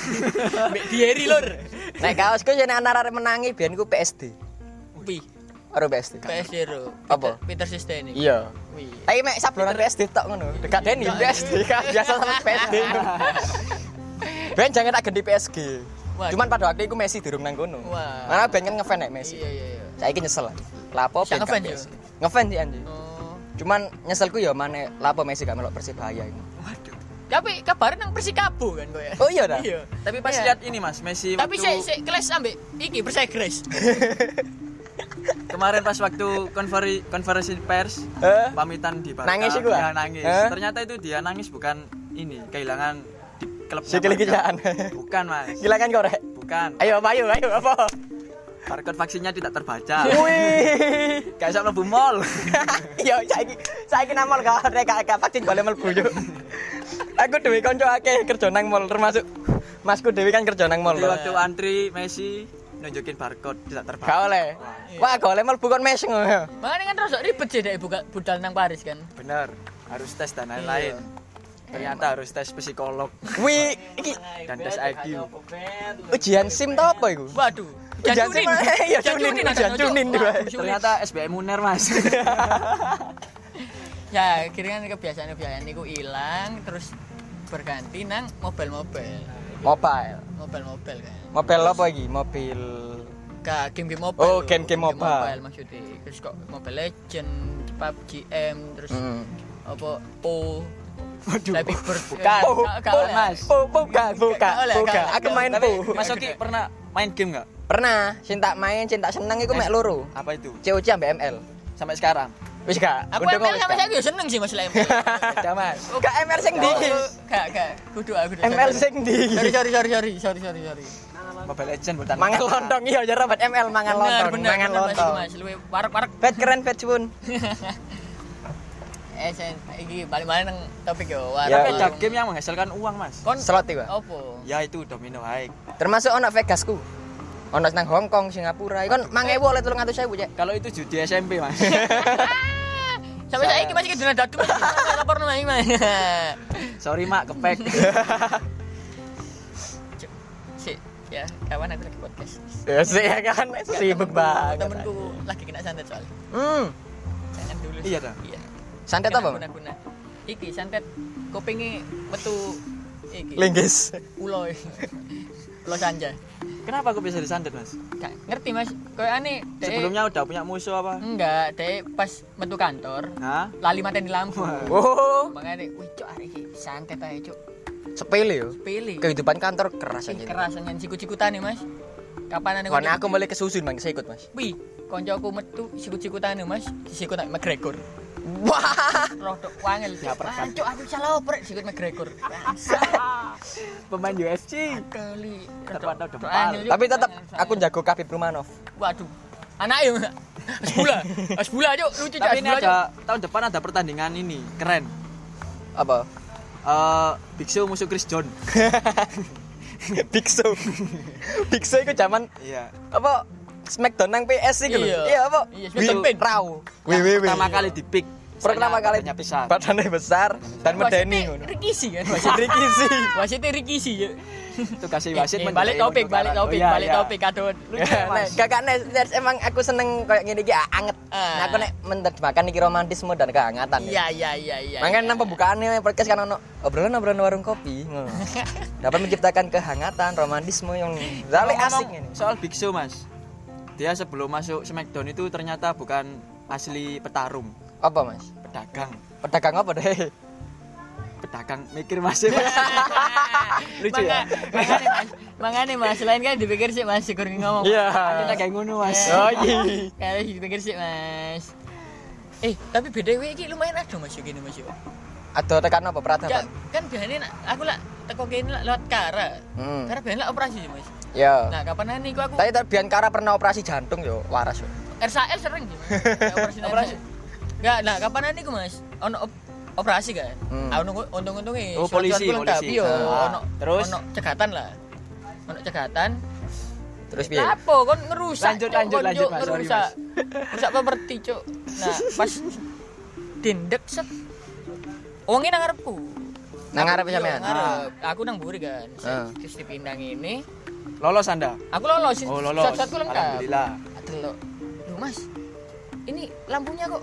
[SPEAKER 2] Ambek dieri lur.
[SPEAKER 3] Nek kaosku jenenge anak arek menangi biyen ku PSD.
[SPEAKER 2] Pi,
[SPEAKER 3] Ora PSD.
[SPEAKER 2] PS Zero.
[SPEAKER 3] Apa?
[SPEAKER 2] Peter Sisteni.
[SPEAKER 3] Iya.
[SPEAKER 2] Wih.
[SPEAKER 3] kan? Tapi mek sablonan PSD tok ngono. Dekat Deni PSD kan biasa sama PSD. Ben jangan tak ganti PSG.
[SPEAKER 2] Waduh.
[SPEAKER 3] Cuman pada waktu itu Messi durung nang kono.
[SPEAKER 2] Wah.
[SPEAKER 3] Mana ben kan ngefan nek Messi.
[SPEAKER 2] Iya iya iya.
[SPEAKER 3] Saiki nyesel. Lapo ben
[SPEAKER 2] Sak ngefan
[SPEAKER 3] gak
[SPEAKER 2] yo?
[SPEAKER 3] PSG. Ngefan sih anjing.
[SPEAKER 2] Oh.
[SPEAKER 3] Cuman nyeselku ya mana lapo Messi gak melok Persibaya ini.
[SPEAKER 4] waduh
[SPEAKER 2] Tapi kabar nang Persikabo kan kowe.
[SPEAKER 3] Oh iya dah.
[SPEAKER 2] Iya.
[SPEAKER 4] tapi pas
[SPEAKER 2] Iya.
[SPEAKER 4] lihat ini mas Messi
[SPEAKER 2] Tapi saya
[SPEAKER 4] waktu
[SPEAKER 2] saya kelas ambek iki persegres.
[SPEAKER 4] kemarin pas waktu konveri konferensi pers
[SPEAKER 3] Eh?
[SPEAKER 4] pamitan di Barca
[SPEAKER 3] Nangis sih gua?
[SPEAKER 4] dia nangis
[SPEAKER 3] Eh?
[SPEAKER 4] ternyata itu dia nangis bukan ini kehilangan di klubnya
[SPEAKER 3] Sikil
[SPEAKER 4] Barca.
[SPEAKER 3] gilaan.
[SPEAKER 4] bukan mas
[SPEAKER 3] Gila kan korek.
[SPEAKER 4] bukan
[SPEAKER 3] Ayo apa, ayo ayo apa?
[SPEAKER 4] barcode vaksinnya tidak terbaca
[SPEAKER 3] Wih.
[SPEAKER 4] gak bisa mlebu mall
[SPEAKER 3] Yo Iya, saiki saiki nang mall gak rek gak gak vaksin boleh mlebu yo. Aku dhewe kanca akeh kerja nang mall termasuk Masku dhewe kan kerja nang mall.
[SPEAKER 4] Jadi waktu antri Messi nunjukin barcode tidak
[SPEAKER 3] Gak
[SPEAKER 4] terbaca
[SPEAKER 3] oleh. Wah, gak oleh mlebu kon mes ngono.
[SPEAKER 2] Makanya kan rosok ribet jadi ibu budal nang Paris kan.
[SPEAKER 4] bener harus tes dan lain-lain
[SPEAKER 3] Iya.
[SPEAKER 4] ternyata harus tes psikolog
[SPEAKER 3] Wih, iki
[SPEAKER 4] dan tes IQ
[SPEAKER 3] ujian SIM to apa iku?
[SPEAKER 2] Waduh.
[SPEAKER 3] Ujian sih, Mas. Iya,
[SPEAKER 2] Jan
[SPEAKER 3] cunin,
[SPEAKER 2] Cunin,
[SPEAKER 3] ujian
[SPEAKER 2] Jan
[SPEAKER 3] cunin
[SPEAKER 2] Cunin.
[SPEAKER 3] juga.
[SPEAKER 2] Waduh, sulit.
[SPEAKER 4] ternyata SBM uner mas
[SPEAKER 2] Ya, akhirnya kan kebiasaan-kebiasaan niku hilang terus berganti nang mobil-mobil.
[SPEAKER 3] Mobile.
[SPEAKER 2] Mobil-mobil kan.
[SPEAKER 3] Mobil apa iki? Mobil
[SPEAKER 2] Gak game-game mobile.
[SPEAKER 3] Oh,
[SPEAKER 2] lho.
[SPEAKER 3] game-game mobile.
[SPEAKER 2] maksudnya. Terus kok Mobile Legend, PUBG M, terus
[SPEAKER 3] Hmm.
[SPEAKER 2] apa O. Waduh. Tapi ber
[SPEAKER 3] Bukan.
[SPEAKER 2] Gak- gak
[SPEAKER 3] Po,
[SPEAKER 2] oleh.
[SPEAKER 3] Mas. Po, po, gak, po,
[SPEAKER 2] Gak
[SPEAKER 3] gak,
[SPEAKER 2] oleh,
[SPEAKER 3] po,
[SPEAKER 2] gak
[SPEAKER 3] gak.
[SPEAKER 2] oleh,
[SPEAKER 3] Aku
[SPEAKER 2] gak
[SPEAKER 3] main
[SPEAKER 2] oleh.
[SPEAKER 3] po.
[SPEAKER 2] Tapi-
[SPEAKER 4] Mas Oki pernah main game nggak
[SPEAKER 3] Pernah, cinta main, cinta seneng iku
[SPEAKER 2] Eh.
[SPEAKER 3] mek loro.
[SPEAKER 4] apa itu
[SPEAKER 3] COC ambek ML.
[SPEAKER 4] sampai sekarang
[SPEAKER 3] Wis gak?
[SPEAKER 2] Aku
[SPEAKER 3] Udah kok
[SPEAKER 2] ML
[SPEAKER 3] wis
[SPEAKER 2] sampai
[SPEAKER 3] gak?
[SPEAKER 2] saya juga seneng sih Mas ML.
[SPEAKER 3] Gak, Mas. Gak ML sing di.
[SPEAKER 2] Gak, gak. Kudu aku.
[SPEAKER 3] ML sing di.
[SPEAKER 2] Sorry, sorry, sorry, sorry, sorry, sorry, sorry.
[SPEAKER 4] Mobile Legend bukan
[SPEAKER 3] Mangan lontong iya ya Robert ML mangan lontong, mangan
[SPEAKER 2] Mas,
[SPEAKER 3] lontong.
[SPEAKER 2] Mas, luwe warak-warak.
[SPEAKER 3] Bet keren bet cuun.
[SPEAKER 2] Eh, sen, iki balik-balik nang topik yo. Warak.
[SPEAKER 4] tapi
[SPEAKER 3] Ya.
[SPEAKER 4] ada game yang menghasilkan uang mas
[SPEAKER 2] kon
[SPEAKER 3] Slot iki, Pak.
[SPEAKER 2] opo?
[SPEAKER 3] Iya.
[SPEAKER 4] ya itu domino high
[SPEAKER 3] Termasuk ono Vegasku. Ono nang Hong Kong, Singapura. Iku kan mangewu oleh 300.000, Cek.
[SPEAKER 4] kalau itu judi SMP mas
[SPEAKER 2] Sampai saya iki masih kedunia datu Mas. Lapor nang iki, Mas.
[SPEAKER 4] sorry mak kepek
[SPEAKER 2] Cuk, Sik, ya, kawan aku lagi podcast.
[SPEAKER 3] Ya sih ya kan sibuk banget.
[SPEAKER 2] Temenku lagi kena santet soalnya.
[SPEAKER 3] Hmm.
[SPEAKER 2] Jangan dulu.
[SPEAKER 4] Iya, toh?
[SPEAKER 2] Iya.
[SPEAKER 3] Santet
[SPEAKER 2] Kena
[SPEAKER 3] apa? Mas?
[SPEAKER 2] Guna-guna. Iki santet kupingi metu iki.
[SPEAKER 3] Linggis.
[SPEAKER 2] Uloy. Ulo sanja.
[SPEAKER 4] kenapa aku bisa disantet mas
[SPEAKER 2] Gak ngerti Mas. Kayak aneh. dek-
[SPEAKER 4] sebelumnya udah punya musuh apa
[SPEAKER 2] Enggak, dek pas metu kantor
[SPEAKER 4] Hah?
[SPEAKER 2] lali mati di lampu.
[SPEAKER 3] Oh.
[SPEAKER 2] Makanya dek, wih cok hari ini santet aja cuk
[SPEAKER 3] sepele yo
[SPEAKER 2] pilih
[SPEAKER 3] kehidupan kantor keras
[SPEAKER 2] sing
[SPEAKER 3] aja
[SPEAKER 2] keras yang sikut-sikutan nih mas kapan ada
[SPEAKER 3] karena aku mulai kesusun bang saya ikut mas
[SPEAKER 2] wih koncoku metu sikut-sikutan nih mas disikut nek McGregor
[SPEAKER 3] wah
[SPEAKER 2] rodok wangel
[SPEAKER 4] Diaperkan.
[SPEAKER 2] Wah, cuk, aku bisa loper sikut McGregor
[SPEAKER 4] Pemain UFC.
[SPEAKER 2] kali
[SPEAKER 4] Terpantau
[SPEAKER 2] rodok
[SPEAKER 4] dempal.
[SPEAKER 2] wangel, cuk.
[SPEAKER 3] tapi tetap
[SPEAKER 2] Wangel,
[SPEAKER 3] aku jago Kabib Rumanov
[SPEAKER 2] waduh anak ya asbula asbula cuk lucu cuk
[SPEAKER 4] Tapi ini
[SPEAKER 2] asbula, Cuk.
[SPEAKER 4] ada tahun depan ada pertandingan ini keren.
[SPEAKER 3] apa
[SPEAKER 4] Eh Big Show musuh Chris John.
[SPEAKER 3] Big Show Big Show itu zaman
[SPEAKER 4] Iya.
[SPEAKER 3] apa Smackdown nang PS itu
[SPEAKER 2] Iya.
[SPEAKER 3] loh iya apa
[SPEAKER 2] Iya, Smackdown
[SPEAKER 3] Wih,
[SPEAKER 2] Pin.
[SPEAKER 3] Raw
[SPEAKER 4] Yang
[SPEAKER 3] Wih, wih, wih.
[SPEAKER 4] Pertama kali di pick.
[SPEAKER 3] pertama kali
[SPEAKER 4] pisah.
[SPEAKER 3] badannya besar dan medeni
[SPEAKER 2] Wasitnya
[SPEAKER 3] ngono.
[SPEAKER 2] rikisi kan
[SPEAKER 3] Jadi
[SPEAKER 2] wasitnya
[SPEAKER 3] kisi
[SPEAKER 2] wasitnya rikisi ya
[SPEAKER 4] Tugasnya
[SPEAKER 2] Eh,
[SPEAKER 4] wasit Oh,
[SPEAKER 2] eh, balik topik balik topik
[SPEAKER 4] Iya,
[SPEAKER 2] balik topik kadon lucu
[SPEAKER 3] Nek,
[SPEAKER 2] ya, mas
[SPEAKER 3] kakak Nes, Nes, emang aku seneng kayak gini iki ah, anget.
[SPEAKER 2] Ah.
[SPEAKER 3] Nah, aku nek menerjemahkan iki romantisme dan kehangatan. ya.
[SPEAKER 2] iya iya iya iya
[SPEAKER 3] Makanya
[SPEAKER 2] iya.
[SPEAKER 3] nang pembukaannya podcast kan ono obrolan-obrolan warung kopi. ngono. Dapat menciptakan kehangatan, romantisme yang zalik asik ini.
[SPEAKER 4] Soal Big Show mas, dia sebelum masuk Smackdown itu ternyata bukan asli petarung,
[SPEAKER 3] Apa, Mas?
[SPEAKER 4] pedagang.
[SPEAKER 3] Pedagang apa deh?
[SPEAKER 4] Pedagang mikir masih.
[SPEAKER 3] Iya.
[SPEAKER 4] Lucu
[SPEAKER 2] Mangga-
[SPEAKER 4] ya.
[SPEAKER 2] mangane mas mangane mas lain kan dipikir sih mas syukur ngomong
[SPEAKER 3] Iya.
[SPEAKER 4] Kita kayak ngono mas.
[SPEAKER 3] Oh, iya.
[SPEAKER 2] kayak dipikir sih mas eh tapi btw iki lumayan ada mas gini mas yo
[SPEAKER 3] Ada tekan apa
[SPEAKER 2] Ya,
[SPEAKER 3] peradaban?
[SPEAKER 2] kan biasanya nak- aku lah teko kene lah lewat kara
[SPEAKER 3] Hmm.
[SPEAKER 2] kara biasanya lah operasi sih mas
[SPEAKER 3] Ya.
[SPEAKER 2] nah kapan nih aku
[SPEAKER 3] Tapi terbian Kara pernah operasi jantung yo, waras yo.
[SPEAKER 2] RSL sering sih. Mas. operasi operasi. Enggak, nah kapanan niku Mas? Ono op- operasi kan?
[SPEAKER 3] Hmm.
[SPEAKER 2] Ah, ono- untung-untungnya
[SPEAKER 4] Oh,
[SPEAKER 2] surat-surat
[SPEAKER 4] polisi,
[SPEAKER 2] ku lengkap,
[SPEAKER 4] polisi.
[SPEAKER 2] Iya,
[SPEAKER 4] Ah,
[SPEAKER 2] ono
[SPEAKER 4] terus?
[SPEAKER 2] ono cegatan lah. Ono cegatan.
[SPEAKER 3] Terus piye?
[SPEAKER 2] Lapo kon ngerusak.
[SPEAKER 4] Lanjut,
[SPEAKER 2] Cuk,
[SPEAKER 4] lanjut,
[SPEAKER 2] kon,
[SPEAKER 4] lanjut,
[SPEAKER 2] Cuk,
[SPEAKER 4] Mas. Sorry,
[SPEAKER 2] Ngerusak. Rusak properti, Cuk. Nah, pas dindek set. Wonge nang ngarepku.
[SPEAKER 3] Nang ngarep ya,
[SPEAKER 2] Iya,
[SPEAKER 3] sampean?
[SPEAKER 2] ngarep. Aku nang buri kan.
[SPEAKER 3] Ah.
[SPEAKER 2] Terus dipindang ini.
[SPEAKER 4] Lolos anda.
[SPEAKER 2] Aku lolos.
[SPEAKER 4] Oh lolos.
[SPEAKER 2] Surat-suratku lengkap. Ah,
[SPEAKER 4] Alhamdulillah.
[SPEAKER 3] Iya,
[SPEAKER 2] Delok. Duh mas, ini lampunya kok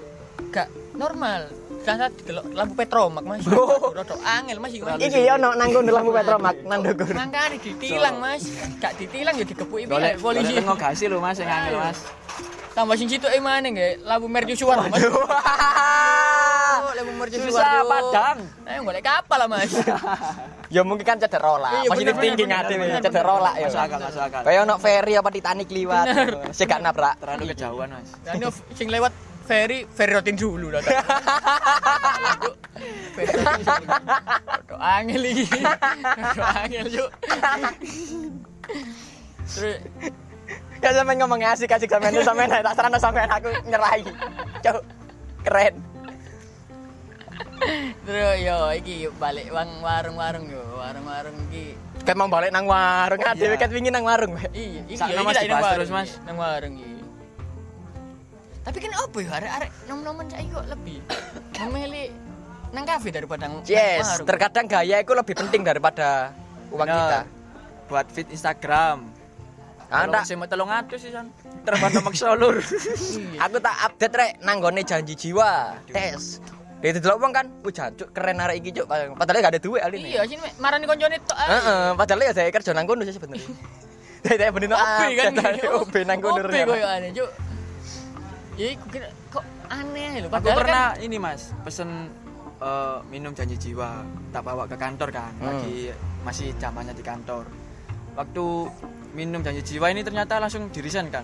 [SPEAKER 2] gak normal. Karena delok lampu petromak mas. Aduh, Rodok angel mas iki mas.
[SPEAKER 3] Iki yo nang nang kono lampu petromak nang dhuwur.
[SPEAKER 2] Mangkane ditilang mas. Gak ditilang ya digepuki
[SPEAKER 4] Golek
[SPEAKER 2] piye
[SPEAKER 4] polisi.
[SPEAKER 2] polisi.
[SPEAKER 4] Golek ngasih lo mas yang ngangil mas.
[SPEAKER 3] Iya.
[SPEAKER 2] Tambah sing situ emane nggih lampu mercusuar mas. Oh, Lampu mercusuar.
[SPEAKER 4] Susah
[SPEAKER 2] tuh.
[SPEAKER 4] padang.
[SPEAKER 2] Ayo golek Eh, kapal lah mas.
[SPEAKER 3] Ya mungkin kan cedera lah.
[SPEAKER 2] Iya,
[SPEAKER 3] Positif
[SPEAKER 2] bener,
[SPEAKER 3] thinking
[SPEAKER 2] bener,
[SPEAKER 3] ate
[SPEAKER 2] bener, bener.
[SPEAKER 3] cedera lah yo.
[SPEAKER 4] Masuk akal masuk akal.
[SPEAKER 3] Kayak ono ferry apa Titanic liwat. Sik gak nabrak.
[SPEAKER 4] Terlalu kejauhan mas.
[SPEAKER 2] Dan yo, sing lewat ferry ferry rotin dulu lah. Rodok- ferry rotin dulu. Rodok angel iki. Rodok angel yuk. Terus
[SPEAKER 3] Gak sampe ngomong Ya, asik asik sampean tuh sampean tak serana sampean aku nyerahi. Cuk. Keren.
[SPEAKER 2] Terus yo iki yuk balik wang warung-warung yo, warung-warung iki.
[SPEAKER 3] Kayak mau balik nang warung, ah dhewe
[SPEAKER 4] Iya.
[SPEAKER 3] ket wingi nang warung. Mbak.
[SPEAKER 2] Iya, iki yo,
[SPEAKER 4] Sakno, Mas,
[SPEAKER 2] tak nang
[SPEAKER 4] dibahas
[SPEAKER 2] warung,
[SPEAKER 4] terus, Mas.
[SPEAKER 2] iki. Nang warung iki. Tapi kan opo yo arek-arek nom-nomen saiki kok lebih memilih nang kafe daripada nang
[SPEAKER 3] Yes,
[SPEAKER 2] nang warung.
[SPEAKER 3] terkadang gaya itu lebih penting daripada uang
[SPEAKER 4] Bener.
[SPEAKER 3] kita. Ah,
[SPEAKER 4] Buat fit Instagram.
[SPEAKER 3] Anda,
[SPEAKER 4] sih mau tolong sih san. Terbantu maksa lur.
[SPEAKER 2] Iya.
[SPEAKER 3] aku tak update rek nanggone janji jiwa. Tes. Dia itu uang kan, wah jancuk keren arek iki cuk. Padahal gak ada duit aline.
[SPEAKER 2] Iya, sini Mek, marani koncone tok. ah.
[SPEAKER 3] Heeh, padahal ya saya kerja nang kono sih sebenarnya. Saya bener nang
[SPEAKER 2] OB kan
[SPEAKER 3] OB nang kono.
[SPEAKER 2] OB
[SPEAKER 3] ternyata.
[SPEAKER 2] koyo aneh cuk ya iku kira kok aneh lho
[SPEAKER 4] Aku
[SPEAKER 2] padahal kan
[SPEAKER 4] pernah ini mas pesen eh, minum janji jiwa tak bawa ke kantor kan lagi masih zamannya di kantor. Waktu minum janji jiwa ini ternyata langsung dirisan kan.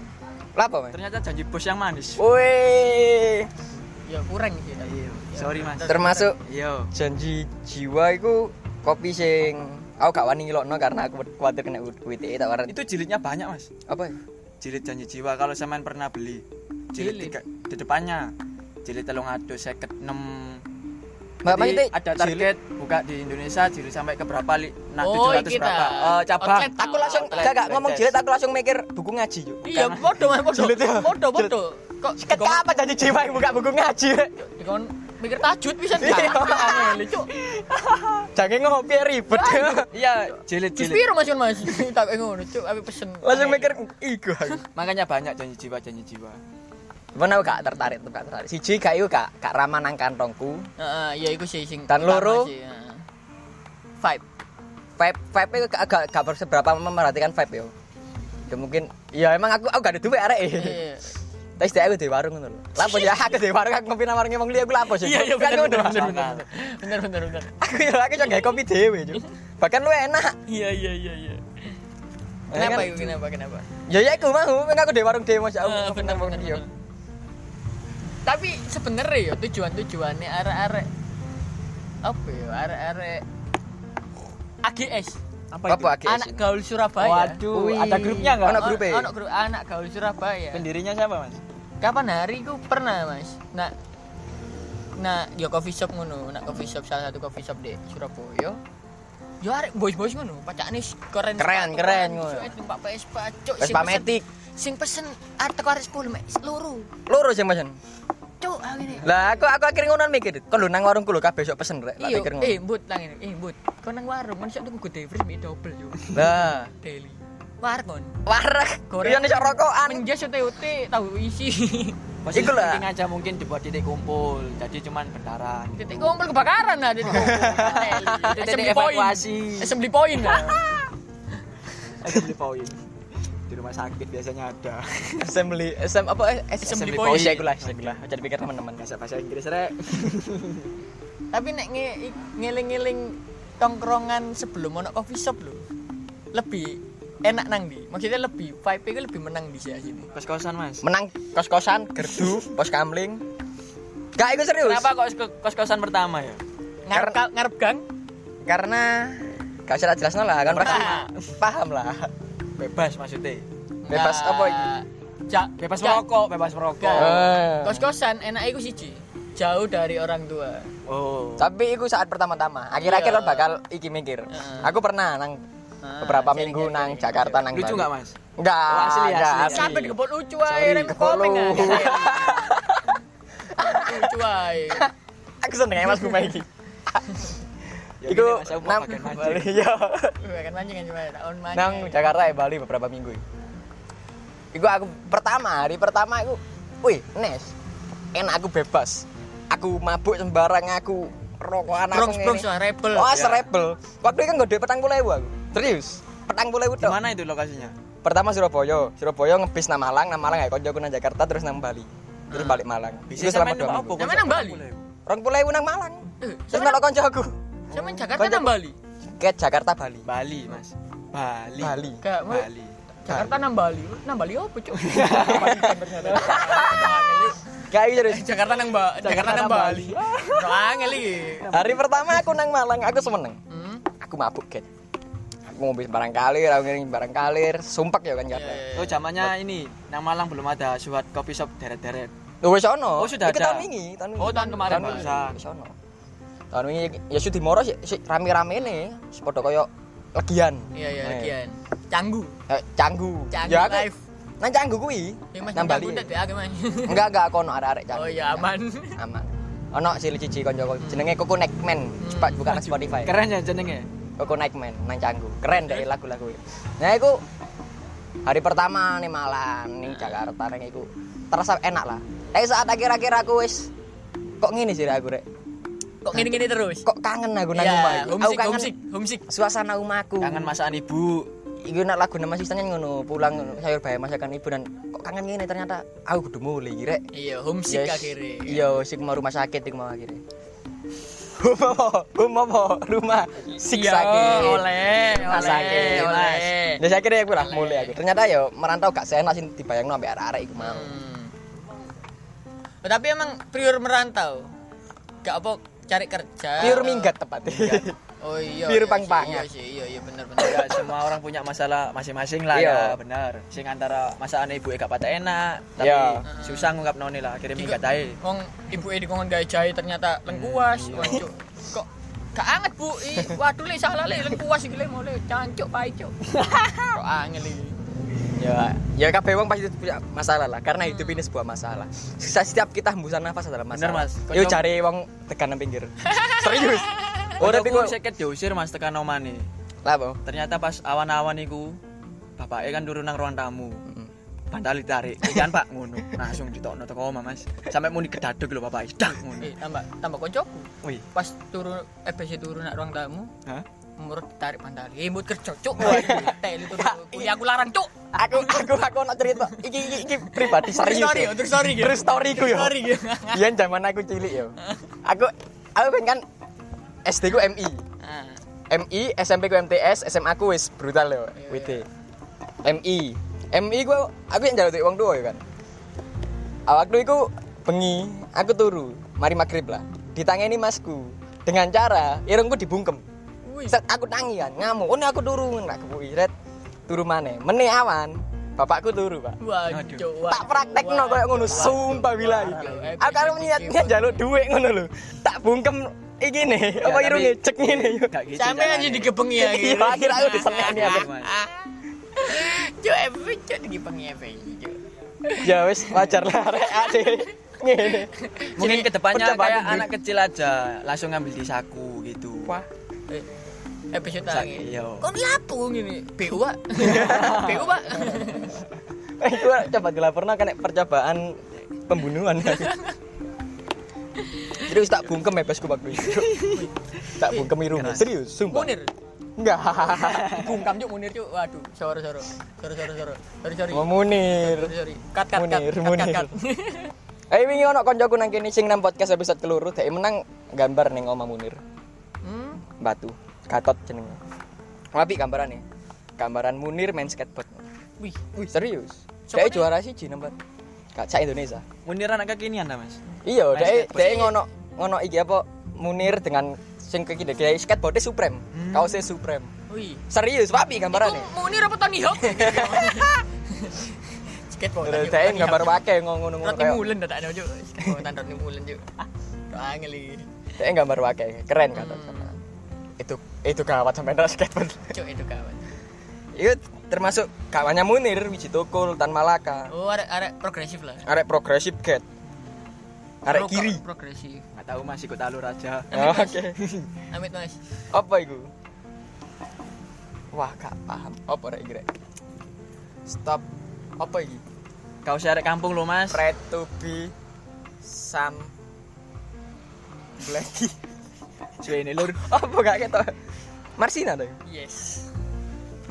[SPEAKER 3] Lah apa, Mas?
[SPEAKER 4] Ternyata janji bos yang manis.
[SPEAKER 3] Oh. Woi,
[SPEAKER 2] kan ya kurang sih Ya. tapi.
[SPEAKER 4] Sorry mas. Iya.
[SPEAKER 3] termasuk
[SPEAKER 4] Yo.
[SPEAKER 3] janji jiwa itu kopi sing aku gak wani ngilokno karena aku khawatir kena UITE tak waran.
[SPEAKER 4] Itu jilidnya banyak mas.
[SPEAKER 3] Apa? ya?
[SPEAKER 4] Jilid janji jiwa kalau sampean pernah beli. Jilid,
[SPEAKER 2] Jilid?
[SPEAKER 4] tiga di depannya. Jilid telung atus seket enam.
[SPEAKER 3] Mbak
[SPEAKER 4] Jadi
[SPEAKER 3] Maite,
[SPEAKER 4] ada target buka di Indonesia jilid sampai ke berapa li? Nah,
[SPEAKER 2] Oh,
[SPEAKER 4] 700
[SPEAKER 2] iki
[SPEAKER 4] berapa?
[SPEAKER 2] ta.
[SPEAKER 4] Eh, cabang.
[SPEAKER 2] Outlet.
[SPEAKER 3] Aku langsung
[SPEAKER 4] Outlet,
[SPEAKER 3] gak gak
[SPEAKER 4] outlet
[SPEAKER 3] ngomong
[SPEAKER 4] test.
[SPEAKER 3] jilid aku langsung mikir buku ngaji yuk.
[SPEAKER 2] iya podo mas podo
[SPEAKER 3] Jilid ya.
[SPEAKER 2] podo podo kok
[SPEAKER 3] Ket apa janji jiwa yang buka buku ngaji? Rek?
[SPEAKER 2] dikon mikir tajud bisa
[SPEAKER 3] Iya.
[SPEAKER 2] gak aneh lho cuk
[SPEAKER 3] Jangan ngopi ribet.
[SPEAKER 4] Iya, jilid
[SPEAKER 2] jus
[SPEAKER 4] jilid.
[SPEAKER 2] biru mas Yon, mas tak kayak ngono cuk ape pesen
[SPEAKER 3] Langsung
[SPEAKER 2] Aneh.
[SPEAKER 3] mikir iku. aku."
[SPEAKER 4] Makanya banyak janji jiwa janji jiwa.
[SPEAKER 3] Cuman aku gak tertarik, tetep gak tertarik. Siji gak iku gak gak ramah nang kantongku.
[SPEAKER 2] heeh ya iku sih sing
[SPEAKER 3] Dan
[SPEAKER 2] utama
[SPEAKER 3] loro.
[SPEAKER 2] sih, heeh. vibe
[SPEAKER 3] vibe vibe itu gak, gak, gak seberapa memperhatikan vibe yo ya mungkin ya emang aku aku gak ada duit arek
[SPEAKER 2] Iya.
[SPEAKER 3] Tapi setiap aku di warung ngono lho. Lapo ya aku di warung aku ngopi nang warunge wong liya aku lapo sih.
[SPEAKER 2] Iya, iya,
[SPEAKER 3] Kan
[SPEAKER 2] bener,
[SPEAKER 3] ngono.
[SPEAKER 2] bener, bener, bener, bener, bener, bener.
[SPEAKER 3] Aku ya aku juga gawe kopi dhewe, Cuk. Bahkan lu enak.
[SPEAKER 2] Iya, iya, iya, iya.
[SPEAKER 3] Ya
[SPEAKER 2] Kenapa
[SPEAKER 3] kan?
[SPEAKER 2] itu? Kenapa? Kenapa?
[SPEAKER 3] Ya ya aku mau, kan aku di warung dhewe Mas.
[SPEAKER 2] Eh,
[SPEAKER 3] Aku
[SPEAKER 2] bener,
[SPEAKER 3] bener wong
[SPEAKER 2] bener,
[SPEAKER 3] liya.
[SPEAKER 2] bener. Tapi sebenarnya ya tujuan-tujuannya arek-arek apa ya arek-arek AGS
[SPEAKER 3] Apa AGS?
[SPEAKER 2] anak gaul Surabaya.
[SPEAKER 4] Waduh,
[SPEAKER 3] Wih.
[SPEAKER 4] ada grupnya nggak?
[SPEAKER 3] Ono
[SPEAKER 2] Ono-
[SPEAKER 3] grup e.
[SPEAKER 2] ono grup anak gaul Surabaya.
[SPEAKER 4] Pendirinya siapa mas?
[SPEAKER 2] Kapan hari ku pernah mas. Nah, nah, yo coffee shop ngono, nak coffee shop salah satu coffee shop di Surabaya. Yo arek boys-boys ngono, pacakane keren.
[SPEAKER 3] Keren, keren ngono.
[SPEAKER 2] Pak Vespa, cuk. sing
[SPEAKER 3] Vespa
[SPEAKER 2] pesen-
[SPEAKER 3] Matic.
[SPEAKER 2] Sing pesen arek arek 10 mek loro.
[SPEAKER 3] Loro sih Mas.
[SPEAKER 2] Cuk, ah ngene.
[SPEAKER 3] Lah aku aku akhirnya ngono mikir. Kon lho nang warungku lho kabeh besok pesen rek. Tak
[SPEAKER 2] Iya,
[SPEAKER 3] pikir ngono.
[SPEAKER 2] eh mbut nang ngene. Eh mbut, kau nang warung, kan tuku gede fris mie double yo.
[SPEAKER 3] Lah,
[SPEAKER 2] Daily. Warung.
[SPEAKER 3] warek.
[SPEAKER 2] Goreng.
[SPEAKER 3] Iya iso rokokan.
[SPEAKER 2] Menjas UTUT tahu isi.
[SPEAKER 4] Posisi
[SPEAKER 3] Iku lah.
[SPEAKER 4] penting aja mungkin dibuat titik kumpul, jadi cuman bentaran.
[SPEAKER 2] Titik kumpul kebakaran lah titik kumpul.
[SPEAKER 4] Titik
[SPEAKER 2] Assembly point.
[SPEAKER 4] evakuasi.
[SPEAKER 2] Assembly point lah.
[SPEAKER 4] Aku beli poin. Di rumah sakit biasanya ada.
[SPEAKER 3] Assembly, SM apa eh,
[SPEAKER 4] Assembly
[SPEAKER 3] point.
[SPEAKER 4] point.
[SPEAKER 3] Iya, iku lah, iku lah. Jadi pikir teman-teman.
[SPEAKER 4] Bahasa bahasa Inggris rek.
[SPEAKER 2] Tapi nek nge ngeling-ngeling tongkrongan sebelum ono coffee shop lho. Lebih enak nang di. Maksudnya lebih vibe itu lebih menang di sini.
[SPEAKER 4] Kos kosan mas.
[SPEAKER 3] Menang kos-kosan, gerdu, pos kamling. Gak itu serius.
[SPEAKER 4] Kenapa kok kos kosan pertama ya?
[SPEAKER 2] Ngarep ka- ngarep gang
[SPEAKER 3] Karena gak usah jelas lah kan mereka paham lah.
[SPEAKER 4] Bebas maksudnya.
[SPEAKER 3] Bebas
[SPEAKER 2] Nah,
[SPEAKER 3] apa?
[SPEAKER 2] Ja,
[SPEAKER 4] Bebas
[SPEAKER 2] ja-
[SPEAKER 4] merokok, bebas merokok.
[SPEAKER 3] Eh.
[SPEAKER 2] Kos-kosan enak iku siji. Jauh dari orang tua.
[SPEAKER 4] Oh.
[SPEAKER 3] Tapi itu saat pertama-tama. Akhir-akhir lo
[SPEAKER 2] Iya.
[SPEAKER 3] bakal iki mikir.
[SPEAKER 2] Heeh.
[SPEAKER 3] Aku pernah nang
[SPEAKER 2] Ah,
[SPEAKER 3] beberapa
[SPEAKER 2] jaring-jaring.
[SPEAKER 3] minggu nang Jakarta nang
[SPEAKER 4] Lucu
[SPEAKER 3] Bali.
[SPEAKER 4] nggak mas?
[SPEAKER 3] Enggak,
[SPEAKER 4] Oh, asli,
[SPEAKER 3] enggak,
[SPEAKER 4] asli.
[SPEAKER 3] asli.
[SPEAKER 2] Sampai dikebut lucu ae
[SPEAKER 3] Iya. Sorry,
[SPEAKER 2] rem
[SPEAKER 3] kebut
[SPEAKER 2] komeng
[SPEAKER 3] lu.
[SPEAKER 2] aja. Lucu ae.
[SPEAKER 3] Aku seneng ya Mas Guma iki.
[SPEAKER 4] Ya,
[SPEAKER 3] Iku
[SPEAKER 4] gini, Mas, aku mau
[SPEAKER 3] nang
[SPEAKER 4] makan mancing.
[SPEAKER 3] Bali ya.
[SPEAKER 2] Wih, Kan mancing kan cuma tahun mancing.
[SPEAKER 3] Nang Jakarta ya Bali beberapa minggu. Iku aku pertama hari pertama aku, wih, Nes. Enak aku bebas. Aku mabuk sembarang aku rokokan aku.
[SPEAKER 2] Bronx Bronx
[SPEAKER 3] ngene.
[SPEAKER 2] lah, rebel.
[SPEAKER 3] Wah,
[SPEAKER 4] Ya.
[SPEAKER 3] serebel. Waktu itu kan gede petang puluh ewu aku. Serius. Petang puluh ewu
[SPEAKER 4] Di
[SPEAKER 3] tok.
[SPEAKER 4] mana itu lokasinya?
[SPEAKER 3] Pertama Surabaya. Surabaya ngebis nang Malang, nang Malang ya konco aku nang Jakarta terus nang Bali. Terus balik Malang.
[SPEAKER 4] Bisa
[SPEAKER 3] Iku
[SPEAKER 4] sama
[SPEAKER 3] dua
[SPEAKER 4] numpak
[SPEAKER 3] minggu.
[SPEAKER 2] Sampai
[SPEAKER 4] apa? Kos-
[SPEAKER 2] nang Bali?
[SPEAKER 3] Rong puluh ewu nang Malang.
[SPEAKER 2] Eh,
[SPEAKER 3] Terus
[SPEAKER 2] sampean
[SPEAKER 3] nang konco aku.
[SPEAKER 2] sampean Jakarta nang Bali.
[SPEAKER 3] Ke Jakarta Bali.
[SPEAKER 4] Bali mas. Bali.
[SPEAKER 3] Bali.
[SPEAKER 2] Gak, mau-
[SPEAKER 4] Bali.
[SPEAKER 2] Jakarta nang Bali. Nang Bali apa, Cuk? Bali kan ternyata. Angel,
[SPEAKER 3] Kayak gitu.
[SPEAKER 2] eh. Jakarta nang Ba- Jakarta nang Bali. Angel iki.
[SPEAKER 3] Hari pertama aku nang Malang, aku semeneng.
[SPEAKER 2] Hmm.
[SPEAKER 3] Aku mabuk, Ken. Aku ngombe barang kalir, aku ngiring barang kalir, sumpek ya
[SPEAKER 2] Iya,
[SPEAKER 3] kan karena.
[SPEAKER 4] Oh zamannya ini, nang Malang belum ada suat kopi shop deret-deret.
[SPEAKER 3] Lu wis ono.
[SPEAKER 4] Oh, sudah
[SPEAKER 3] Iki
[SPEAKER 4] ada.
[SPEAKER 3] tahun ini, tahun ini.
[SPEAKER 2] Oh, tahun kemarin,
[SPEAKER 3] Tahun ini,
[SPEAKER 4] Bang.
[SPEAKER 3] wis ono. Tahun ini ya sudah dimoro sih sih rame-rame nih, sepodo koyo legian.
[SPEAKER 2] Iya, iya,
[SPEAKER 3] Eh,
[SPEAKER 2] kian. Canggu.
[SPEAKER 3] eh, Canggu.
[SPEAKER 2] Canggu
[SPEAKER 3] ya aku.
[SPEAKER 2] live.
[SPEAKER 3] Nang Canggu kuwi.
[SPEAKER 2] Ya Mas
[SPEAKER 3] Nang Bali.
[SPEAKER 2] Canggu ndak ya, Mas.
[SPEAKER 3] Enggak, enggak aku ono arek-arek Canggu.
[SPEAKER 2] Oh iya, aman.
[SPEAKER 3] Aman. Ono sih lu cici konjoku. Jenenge Koko Neckman. Cepat buka nang Spotify.
[SPEAKER 4] Keren ya jenenge.
[SPEAKER 3] Koko Nightman nang Canggu. Keren deh lagu-lagu. Nah, iku hari pertama nih Malang, ning Jakarta ning iku terasa enak lah. Tapi saat akhir-akhir aku wis kok ngene sih aku rek.
[SPEAKER 2] Kok gini-gini terus?
[SPEAKER 3] Kok kangen aku nang
[SPEAKER 2] Iya,
[SPEAKER 3] omah iku. Aku
[SPEAKER 2] homesick,
[SPEAKER 3] kangen
[SPEAKER 2] homesick, homesick.
[SPEAKER 3] suasana omahku.
[SPEAKER 4] Kangen masakan ibu.
[SPEAKER 3] Iku nak lagu nama sisanya kan ngono, pulang ngono, sayur bayam masakan kan ibu dan kok kangen ngene ternyata aku kudu mulai rek.
[SPEAKER 2] Iya, homesick
[SPEAKER 3] Yes.
[SPEAKER 2] akhirnya.
[SPEAKER 3] Iya, sik mau rumah sakit iku mau akhirnya. Rumah apa? Rumah apa? Rumah sik
[SPEAKER 2] Iya,
[SPEAKER 3] sakit.
[SPEAKER 2] oleh,
[SPEAKER 3] Rumah sakit,
[SPEAKER 2] oleh,
[SPEAKER 3] Mas.
[SPEAKER 2] oleh.
[SPEAKER 3] Ya saya kira aku lah mulai aku. Ternyata yo merantau gak seenak sih dibayangno ambek arek-arek iku mau.
[SPEAKER 2] Hmm. Oh, tapi emang prior merantau. Gak apa cari kerja.
[SPEAKER 3] Pure minggat tepatnya.
[SPEAKER 2] Oh iya.
[SPEAKER 3] Pure
[SPEAKER 2] iya
[SPEAKER 3] pang-pangan.
[SPEAKER 2] sih, Iya sih, iya iya bener
[SPEAKER 4] Ya,
[SPEAKER 2] bener.
[SPEAKER 4] semua orang punya masalah masing-masing lah
[SPEAKER 3] Iya.
[SPEAKER 4] ya, benar. Sing antara masakan ibu e gak patah enak, tapi
[SPEAKER 3] Iya.
[SPEAKER 4] susah ngungkap noni lah, akhirnya minggat ae.
[SPEAKER 2] Wong ibu di kongon gaya jahe ternyata
[SPEAKER 3] Iya.
[SPEAKER 2] lengkuas. Wah, Cuk. Kok gak anget bu I, waduh le salah le lengkuas iki le mau le cancuk pai cuk kok angel iki
[SPEAKER 3] ya, ya kabeh wong pasti punya masalah lah karena hidup ini sebuah masalah. Setiap setiap kita hembusan nafas adalah masalah.
[SPEAKER 4] Bener, Mas.
[SPEAKER 3] Yo
[SPEAKER 4] Kocok-
[SPEAKER 3] cari wong tekan nang pinggir. Serius. Ora
[SPEAKER 4] Udah
[SPEAKER 3] iku
[SPEAKER 4] aku seket diusir Mas tekan omane.
[SPEAKER 3] lah apa?
[SPEAKER 4] Ternyata pas awan-awan iku bapaknya kan turun nang ruang tamu. Bantal ditarik, kan Pak ngono. Langsung ditokno teko omah Mas. Sampai muni gedaduk lho bapak Dak ngono.
[SPEAKER 2] eh tambah tambah koncoku
[SPEAKER 4] Wih.
[SPEAKER 2] pas turun eh besi turun nak ruang tamu
[SPEAKER 3] iya.
[SPEAKER 4] Hah?
[SPEAKER 2] menurut tarik pantali eh mood kerja cuk Waduh, teli turun kuliah aku larang cuk
[SPEAKER 3] aku aku aku nak cerita iki iki, iki pribadi serius
[SPEAKER 2] story,
[SPEAKER 3] yo.
[SPEAKER 2] untuk story, Gil.
[SPEAKER 3] true gitu. story ku yo
[SPEAKER 2] Story, gitu. Gil.
[SPEAKER 3] Biyen zaman aku cilik yo aku aku kan kan SD ku MI Nah.
[SPEAKER 2] Ah,
[SPEAKER 3] MI SMP ku MTS SMA ku wis brutal yo
[SPEAKER 2] Iya,
[SPEAKER 3] WT MI MI ku aku yang jalan duit wong tua yo kan awak dulu iku bengi aku turu mari maghrib lah ditangani masku dengan cara irungku dibungkem
[SPEAKER 2] Wih.
[SPEAKER 3] Set, aku tangi kan ngamuk oh aku turu nak kepui red turu mana meneh awan bapakku turu pak
[SPEAKER 2] Wah,
[SPEAKER 4] Aduh.
[SPEAKER 2] cok, wah.
[SPEAKER 3] tak praktek no kayak ngono sumpah billahi aku kalau niat niat jaluk duit ngono lho tak bungkem iki
[SPEAKER 2] Ya,
[SPEAKER 3] nih apa irunge cek ngene yo
[SPEAKER 2] Iya,
[SPEAKER 4] Gak Ya, gitu
[SPEAKER 2] Sampai aja
[SPEAKER 4] caranya.
[SPEAKER 2] digepengi ya. Gil.
[SPEAKER 3] Iya, akhirnya aku diseneni aku.
[SPEAKER 2] Cok, epi, cok, digepengi epi, cok.
[SPEAKER 3] ya wis wajar lah rek ade ngene
[SPEAKER 4] Mungkin kedepannya
[SPEAKER 3] percobaan
[SPEAKER 4] kayak
[SPEAKER 3] publik.
[SPEAKER 4] anak kecil aja langsung ngambil di saku gitu.
[SPEAKER 3] wah
[SPEAKER 2] Eh, episode
[SPEAKER 4] Sa-
[SPEAKER 2] tangi.
[SPEAKER 4] iya.
[SPEAKER 2] Kok lapu gini? BU, Pak. BU, Pak.
[SPEAKER 3] itu Eh, coba dilaporkan kena percobaan pembunuhan serius tak bungkem bebasku waktu itu tak bungkem irungnya serius sumpah
[SPEAKER 2] Munir.
[SPEAKER 3] enggak
[SPEAKER 2] Bungkam cuk Munir cuk. Waduh, sorry sorry. Sorry sorry sorry. Sorry sorry.
[SPEAKER 3] Oh, Munir
[SPEAKER 2] Sorry sorry. Cut cut cut.
[SPEAKER 3] Munir,
[SPEAKER 2] Cut,
[SPEAKER 3] Munir.
[SPEAKER 2] cut, cut.
[SPEAKER 3] Eh wingi ono koncoku nang kene sing nang podcast episode keluru dhek menang gambar ning Oma Munir.
[SPEAKER 2] Hmm.
[SPEAKER 3] Batu, Gatot jenenge. Apik gambarane. Gambaran Munir main skateboard.
[SPEAKER 2] Wih,
[SPEAKER 3] Wih, serius.
[SPEAKER 2] Siapa
[SPEAKER 3] Dhek juara siji nempat. Gak sak Indonesia.
[SPEAKER 4] Munir anak kekinian ta, Mas?
[SPEAKER 3] Iya,
[SPEAKER 4] Main
[SPEAKER 3] dhek
[SPEAKER 4] skateboard.
[SPEAKER 3] dhek ngono ngono iki apa Munir dengan sing kiki dhek skateboardnya Supreme. Kaosnya Supreme.
[SPEAKER 2] wih.
[SPEAKER 3] Serius, Papi gambarane.
[SPEAKER 2] Itu Munir apa Tony Hawk? Skateboard.
[SPEAKER 3] Terus dhek gambar wae ngono-ngono
[SPEAKER 2] Roti
[SPEAKER 3] kayak.
[SPEAKER 2] Mulen tak ada cuk. Skateboardan Roti Mulen cuk. Ah, angel iki.
[SPEAKER 3] Dhek gambar wae keren Gatot. Itu itu gawat sampai nang skateboard.
[SPEAKER 2] Cuk itu kawan.
[SPEAKER 3] Itu termasuk kawannya Munir, Wiji Tukul, Tan Malaka.
[SPEAKER 2] Oh, arek arek progresif lah.
[SPEAKER 3] Arek progresif get. Arek
[SPEAKER 2] Pro-
[SPEAKER 3] kiri.
[SPEAKER 2] Progresif.
[SPEAKER 4] Enggak tahu Mas ikut alur aja.
[SPEAKER 3] Oh, Oke.
[SPEAKER 2] Amit Mas.
[SPEAKER 3] Apa itu? Wah, gak paham. Apa rek iki, rek? Stop. Apa iki?
[SPEAKER 4] Kau arek kampung lo, Mas.
[SPEAKER 3] Pret to be some Blacky.
[SPEAKER 4] Suwene lur.
[SPEAKER 3] Oh, Apa gak ketok? Marsina to.
[SPEAKER 2] Yes.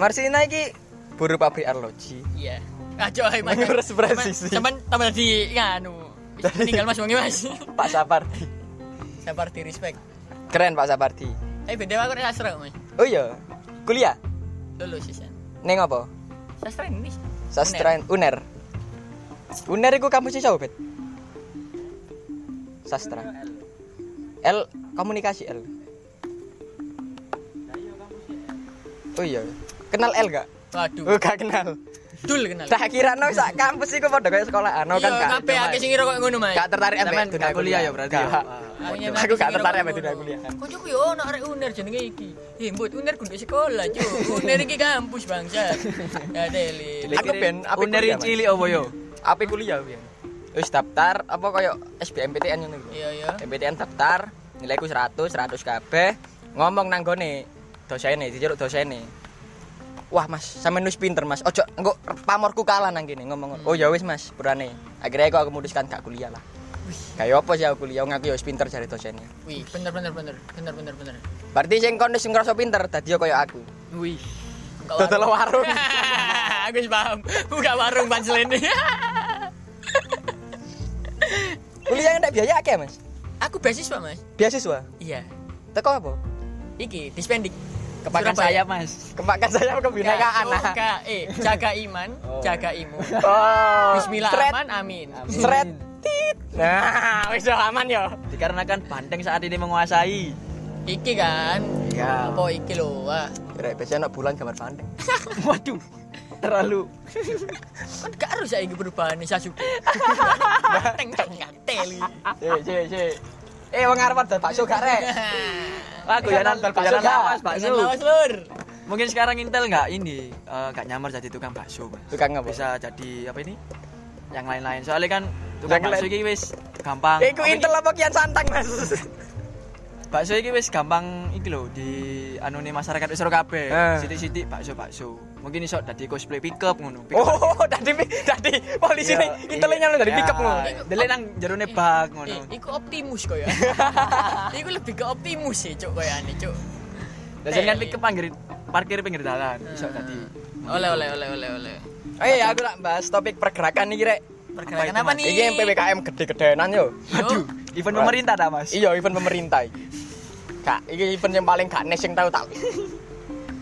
[SPEAKER 3] Marsina iki buru pabrik arloji.
[SPEAKER 2] Iya. Ajo ayo Mas.
[SPEAKER 3] Mengurus presisi.
[SPEAKER 2] Cuman tambah di nganu. Tinggal Mas Wangi Mas.
[SPEAKER 3] Pak Sapardi.
[SPEAKER 2] Sabar di respect.
[SPEAKER 3] Keren Pak Sapardi.
[SPEAKER 2] Eh beda aku nek sastra Mas.
[SPEAKER 3] Oh iya, kuliah
[SPEAKER 2] Lulus sih. San.
[SPEAKER 3] neng apa?
[SPEAKER 2] Sastra ini.
[SPEAKER 3] Sastra Uner. Uner iku kampus sih bet. Sastra. L komunikasi L. Oh iya. Kenal L gak?
[SPEAKER 2] Waduh.
[SPEAKER 3] Oh gak kenal.
[SPEAKER 2] Dul kenal. Iya,
[SPEAKER 3] Tak kira no sak kampus iku padha kaya sekolah no
[SPEAKER 4] Iya,
[SPEAKER 3] kan gak.
[SPEAKER 2] kabeh akeh sing ngira kok ngono Mas.
[SPEAKER 3] Gak tertarik
[SPEAKER 4] Sampean gak kuliah ya berarti. ya?
[SPEAKER 3] Gak.
[SPEAKER 4] Ah,
[SPEAKER 3] Aku
[SPEAKER 2] Akhirnya nanti
[SPEAKER 3] gak
[SPEAKER 2] sing kira
[SPEAKER 3] tertarik
[SPEAKER 2] kok
[SPEAKER 3] sama dunia
[SPEAKER 2] ngono.
[SPEAKER 3] kuliahan.
[SPEAKER 2] Koncoku yo ono arek uner jenenge iki. Eh, mbut uner gunduk sekolah, Cuk. Uner iki kampus bangsa. Ya deli.
[SPEAKER 3] Aku ben apa
[SPEAKER 4] Munir
[SPEAKER 3] kuliah, Mas?
[SPEAKER 4] cilik opo yo?
[SPEAKER 3] Apa kuliah pian? Wis daftar apa kaya SBMPTN ngono iku.
[SPEAKER 2] Iya ya.
[SPEAKER 3] MPTN daftar nilaiku 100 100 kabeh ngomong nang gone dosene dijeruk dosene wah mas sampe nulis pinter mas ojo engko pamorku kalah nang kene ngomong
[SPEAKER 4] Hmm.
[SPEAKER 3] oh ya wis mas berani akhirnya aku, aku memutuskan gak kuliah lah kayak apa sih aku kuliah ngaku ya wis pinter jare dosennya
[SPEAKER 2] Wih, bener bener bener. Bener bener bener.
[SPEAKER 3] berarti sing kono sing ngerasa pinter dadi ya kaya aku
[SPEAKER 4] Wih.
[SPEAKER 2] Buka
[SPEAKER 3] dodol warung
[SPEAKER 2] warung. Aku wis paham. Buka warung pancelan ini.
[SPEAKER 3] kuliah ndak biaya akeh mas
[SPEAKER 2] Aku beasiswa, Mas.
[SPEAKER 3] beasiswa
[SPEAKER 2] Iya.
[SPEAKER 3] teko apa
[SPEAKER 2] Iki dispendik.
[SPEAKER 4] Kepakan
[SPEAKER 2] Surabaya.
[SPEAKER 4] sayap, Mas.
[SPEAKER 3] kepakan saya kebinakaan
[SPEAKER 2] Enggak, enggak. eh jaga iman, jaga imun.
[SPEAKER 3] oh
[SPEAKER 2] Bismillah
[SPEAKER 3] sret
[SPEAKER 2] aman, amin.
[SPEAKER 3] sret tit nah wis yo aman yo
[SPEAKER 4] Dikarenakan banteng saat ini menguasai.
[SPEAKER 2] Iki kan.
[SPEAKER 4] Iya.
[SPEAKER 2] Apa iki lho, Wak?
[SPEAKER 3] Rek, biasanya anak bulan gambar pandeng.
[SPEAKER 4] Waduh. Terlalu
[SPEAKER 2] Kan gak harus saiki perubahan Sasuke. Teng teng ngateli.
[SPEAKER 3] Cek, cek, cek. Eh, wong arep dal bakso gak rek?
[SPEAKER 4] Wah, guyonan
[SPEAKER 3] Bakso
[SPEAKER 4] guyonan
[SPEAKER 3] gak?
[SPEAKER 4] lawas,
[SPEAKER 2] Jangan
[SPEAKER 4] Ah, bakso.
[SPEAKER 2] lawas, Lur.
[SPEAKER 4] Mungkin sekarang Intel nggak ini eh, nggak nyamar jadi tukang bakso, Mas.
[SPEAKER 3] Tukang apa?
[SPEAKER 4] Bisa jadi apa ini? Yang lain-lain. Soalnya kan tukang
[SPEAKER 3] Yang
[SPEAKER 4] bakso
[SPEAKER 3] lain.
[SPEAKER 4] iki wis gampang.
[SPEAKER 3] Iku
[SPEAKER 4] Apa
[SPEAKER 3] intel apa kian santang, Mas?
[SPEAKER 4] iki? Bakso iki wis gampang iki lho di anune masyarakat wis ora kabeh.
[SPEAKER 3] Eh.
[SPEAKER 4] Sithik-sithik bakso-bakso. Mungkin iso dadi cosplay pickup ngono. Pick up.
[SPEAKER 3] Oh, tadi tadi polisi
[SPEAKER 4] Iya,
[SPEAKER 3] nih intelnya lu dari
[SPEAKER 4] iya.
[SPEAKER 3] pick up lu.
[SPEAKER 4] Delek nang jerone bak ngono.
[SPEAKER 2] Eh, iku optimus koyo. Iku lebih ke optimus sih, Cuk, koyo ane, Cuk.
[SPEAKER 4] Hmm. Lah jenengan pick up pinggir parkir pinggir dalan iso dadi.
[SPEAKER 2] Oleh oleh oleh oleh oleh.
[SPEAKER 3] Eh, aku tak bahas topik pergerakan nih, Rek.
[SPEAKER 2] Pergerakan apa nih?
[SPEAKER 3] Iki PPKM gede-gedenan yo.
[SPEAKER 4] Aduh, event
[SPEAKER 3] Wah.
[SPEAKER 4] pemerintah dah mas.
[SPEAKER 3] Iya, event pemerintah. iki. Kak, iki event yang paling gak nes yang tahu tak.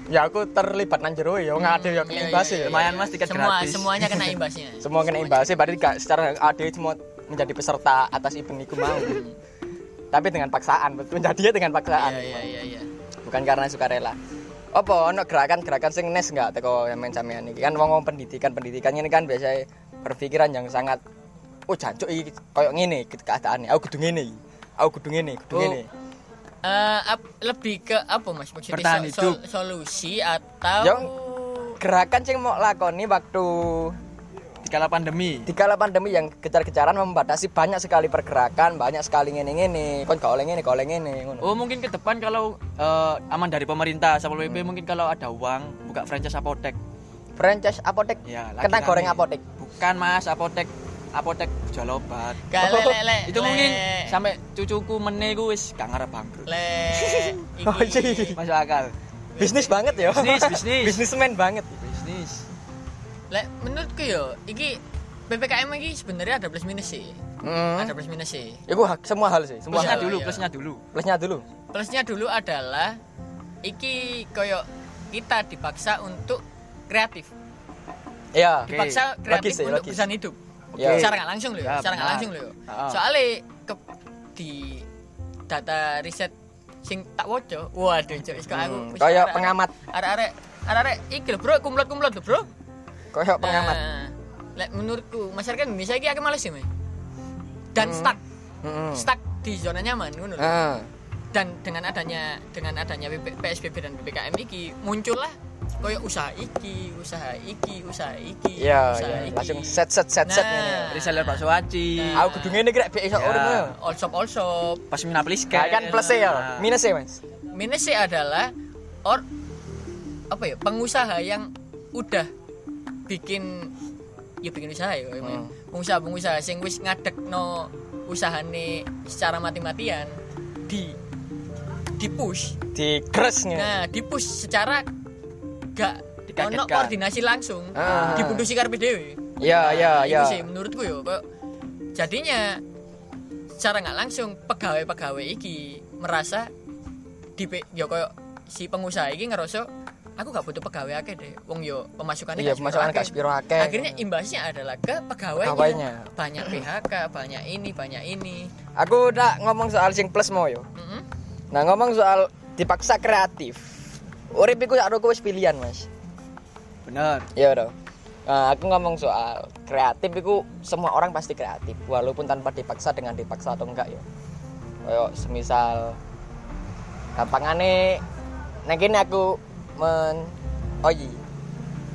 [SPEAKER 3] ya aku terlibat nang jero ya, ngade ya
[SPEAKER 2] Iya,
[SPEAKER 3] keimbas
[SPEAKER 2] iya, iya.
[SPEAKER 3] ya.
[SPEAKER 4] Lumayan mas tiket
[SPEAKER 2] Semua
[SPEAKER 4] gratis.
[SPEAKER 2] semuanya kena ya. imbasnya.
[SPEAKER 3] Semua kena imbasnya berarti gak secara ada semua menjadi peserta atas event iku mau. Tapi dengan paksaan, betul menjadinya dengan paksaan.
[SPEAKER 2] Iya iya iya iya.
[SPEAKER 3] Bukan karena sukarela. Apa ono gerakan-gerakan sing nes enggak teko yang main sampean iki? Kan wong-wong pendidikan, pendidikan ini kan biasanya berpikiran yang sangat oh jancuk iki koyo ngene gitu keadaannya. Aku kudu ngene. iki. Aku kudu ngene, kudu
[SPEAKER 2] Oh.
[SPEAKER 3] ngene.
[SPEAKER 2] Eh, ap- lebih ke apa Mas maksudnya
[SPEAKER 4] Bertahan hidup.
[SPEAKER 2] solusi atau
[SPEAKER 3] Yang- Gerakan sing mau lakoni waktu
[SPEAKER 4] Dikala pandemi.
[SPEAKER 3] di kala pandemi yang kejar-kejaran membatasi banyak sekali pergerakan, banyak sekali ngene-ngene, kon gak oleh ngene, gak oleh ngene ngono.
[SPEAKER 4] Oh mungkin ke depan kalau eh, aman dari pemerintah sama PP mungkin kalau ada uang buka franchise apotek.
[SPEAKER 3] Franchise apotek.
[SPEAKER 4] Ya, lagi
[SPEAKER 3] Kentang
[SPEAKER 4] rame.
[SPEAKER 3] goreng apotek.
[SPEAKER 4] Bukan mas apotek apotek jual obat.
[SPEAKER 2] Gak, le, le, le,
[SPEAKER 4] itu
[SPEAKER 2] le.
[SPEAKER 4] mungkin sampai cucuku mene ku wis gak ngarep bangkrut.
[SPEAKER 2] le
[SPEAKER 3] Oh,
[SPEAKER 2] iki
[SPEAKER 3] iya.
[SPEAKER 4] Masuk akal.
[SPEAKER 3] Bisnis banget ya.
[SPEAKER 4] Bisnis, bisnis.
[SPEAKER 3] Bisnismen banget.
[SPEAKER 4] Bisnis.
[SPEAKER 2] le menurutku yo iki PPKM iki sebenarnya ada plus minus sih.
[SPEAKER 3] Hmm.
[SPEAKER 2] Ada plus minus sih.
[SPEAKER 3] Iku hak- semua hal sih, semua
[SPEAKER 4] Plusnya
[SPEAKER 3] hal.
[SPEAKER 2] Iya,
[SPEAKER 4] dulu,
[SPEAKER 2] iya.
[SPEAKER 4] plusnya dulu.
[SPEAKER 3] Plusnya dulu.
[SPEAKER 2] Plusnya dulu adalah iki koyo kita dipaksa untuk kreatif.
[SPEAKER 3] Iya.
[SPEAKER 4] Oke.
[SPEAKER 2] Dipaksa kreatif
[SPEAKER 3] Logis sih,
[SPEAKER 2] untuk
[SPEAKER 3] logis.
[SPEAKER 2] bisa hidup.
[SPEAKER 3] Iya.
[SPEAKER 2] Secara nggak langsung loh, ya,
[SPEAKER 4] Ya,
[SPEAKER 2] secara nggak
[SPEAKER 4] benar.
[SPEAKER 2] langsung loh. ya.
[SPEAKER 4] Ah.
[SPEAKER 2] Soalnya ke, di data riset sing tak woco, waduh cok, kok aku
[SPEAKER 3] Hmm, kayak pengamat.
[SPEAKER 2] Arek-arek, arek-arek, iki lho bro, kumlot-kumlot lho bro.
[SPEAKER 3] Koyok pengamat.
[SPEAKER 2] Nah, Eh, lek menurutku masyarakat Indonesia iki akeh males ya, Mas. Dan
[SPEAKER 3] Hmm,
[SPEAKER 2] stuck,
[SPEAKER 4] Nah.
[SPEAKER 3] Heeh.
[SPEAKER 2] stuck di zona nyaman ngono lho.
[SPEAKER 3] Heeh.
[SPEAKER 2] Dan dengan adanya dengan adanya PP PSBB dan PPKM iki muncullah koyo usaha iki, usaha iki, usaha iki,
[SPEAKER 3] Iya,
[SPEAKER 2] usaha
[SPEAKER 3] iya.
[SPEAKER 2] iki.
[SPEAKER 3] Langsung set set set set
[SPEAKER 2] Nah.
[SPEAKER 3] ngene.
[SPEAKER 4] Reseller bakso aci.
[SPEAKER 2] Nah.
[SPEAKER 3] Aku kudu ngene grek ben iso
[SPEAKER 4] Ya.
[SPEAKER 3] urip. yo.
[SPEAKER 2] all shop all shop
[SPEAKER 4] Pas minapelis
[SPEAKER 3] Nah, Kan plus ya, minus ya, Mas.
[SPEAKER 2] minusnya adalah or apa ya pengusaha yang udah bikin ya bikin usaha ya
[SPEAKER 3] Hmm.
[SPEAKER 2] pengusaha pengusaha sing wis ngadek no usahane secara mati-matian di di push
[SPEAKER 3] Di crush ngene.
[SPEAKER 2] nah di push secara gak ono
[SPEAKER 4] Dikagetkan.
[SPEAKER 2] koordinasi langsung
[SPEAKER 3] Ah.
[SPEAKER 2] dibunusi karpe dewe
[SPEAKER 3] Iya,
[SPEAKER 2] Nah,
[SPEAKER 3] iya,
[SPEAKER 2] itu
[SPEAKER 3] iya.
[SPEAKER 2] sih menurutku yo kok jadinya secara nggak langsung pegawai-pegawai iki merasa di yo koyo si pengusaha iki ngerasa aku gak butuh pegawai akeh deh wong yo pemasukannya
[SPEAKER 3] Iya,
[SPEAKER 2] gak
[SPEAKER 3] pemasukan gak
[SPEAKER 2] sepiro
[SPEAKER 3] sepiro akeh.
[SPEAKER 2] akhirnya imbasnya adalah ke pegawainya,
[SPEAKER 3] Pegawainya.
[SPEAKER 2] banyak PHK banyak ini banyak ini
[SPEAKER 3] Aku udah ngomong soal sing plus mau yo.
[SPEAKER 2] Mm-mm.
[SPEAKER 3] Nah, ngomong soal dipaksa kreatif. Urip iku sak wis pilihan, Mas.
[SPEAKER 4] Bener.
[SPEAKER 3] Iya dong. Nah, aku ngomong soal kreatif itu semua orang pasti kreatif walaupun tanpa dipaksa dengan dipaksa atau enggak ya. Kayak semisal gampangane nek ini aku men oh iya.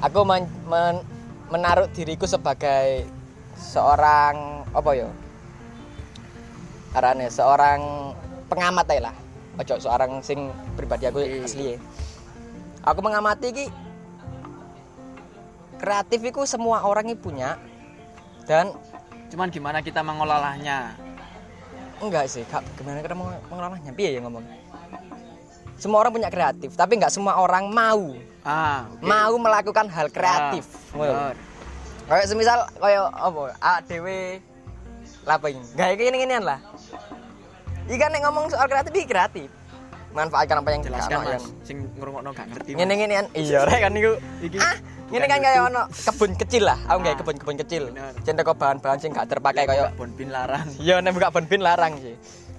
[SPEAKER 3] Aku men, men- menaruh diriku sebagai seorang apa ya? Arane seorang pengamat ae lah. Ojo seorang sing pribadi aku asli. e. Aku mengamati ki kreatif itu semua orang ini punya dan
[SPEAKER 4] Cuman gimana kita mengolahnya?
[SPEAKER 3] enggak sih Kak, gimana kita mau mengelolanya piye ya ngomong semua orang punya kreatif tapi enggak semua orang mau
[SPEAKER 4] Ah,
[SPEAKER 3] mau melakukan hal kreatif
[SPEAKER 4] Ah, bener.
[SPEAKER 3] kayak semisal kayak apa ADW lapeng gak kayak gini ginian lah ikan yang ngomong soal kreatif ini kreatif manfaatkan apa yang ono,
[SPEAKER 4] jelaskan mas.
[SPEAKER 3] kan.
[SPEAKER 4] Sing ngurungokno gak ngerti. Mas.
[SPEAKER 3] ngene ngene iya rek kan niku
[SPEAKER 4] Iki
[SPEAKER 3] ah ngene
[SPEAKER 4] bukan
[SPEAKER 3] kan kayak
[SPEAKER 4] YouTube.
[SPEAKER 3] ono kebun kecil lah aku kayak
[SPEAKER 4] Ah,
[SPEAKER 3] kebun-kebun kecil
[SPEAKER 4] bener.
[SPEAKER 3] cinta kok bahan-bahan sing gak terpakai kayak
[SPEAKER 4] bonbin larang.
[SPEAKER 3] iya nek buka bonbin larang sih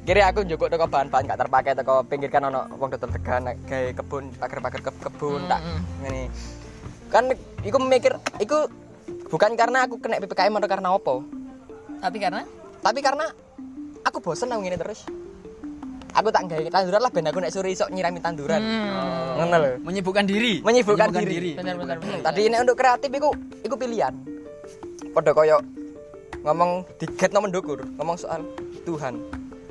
[SPEAKER 3] kira aku njukuk teko bahan-bahan gak terpakai teko pinggir kan ono wong dodol degan nek gawe kebun pager-pager ke kebun tak ngene kan iku mikir iku bukan karena aku kena PPKM atau karena opo
[SPEAKER 2] tapi karena
[SPEAKER 3] tapi karena aku bosen aku ngene terus aku tak gawe tanduran lah ben aku nek sore iso nyirami tanduran ngono lho
[SPEAKER 4] Menyibukkan diri.
[SPEAKER 3] Menyibukkan diri.
[SPEAKER 2] benar-benar
[SPEAKER 3] Iya, Hmm, Tadi ini untuk kreatif iku iku pilihan. Padha koyo ngomong diget no mendukur, ngomong soal Tuhan.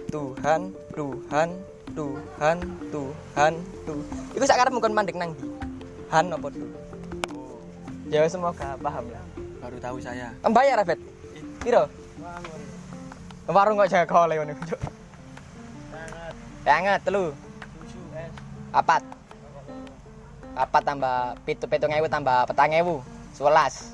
[SPEAKER 3] Tuhan, Tuhan, Tuhan, Tuhan, Tuhan. Iku sekarang bukan mandek nang ndi? Han apa tuh? Ya semoga paham lah.
[SPEAKER 4] Baru tahu saya.
[SPEAKER 3] Membayar Abet. Piro? Warung kok jaga kole ngono. Cuk. Banget telu. Apat. Apat tambah pitu pitu ngewu tambah petang ngewu. Sebelas.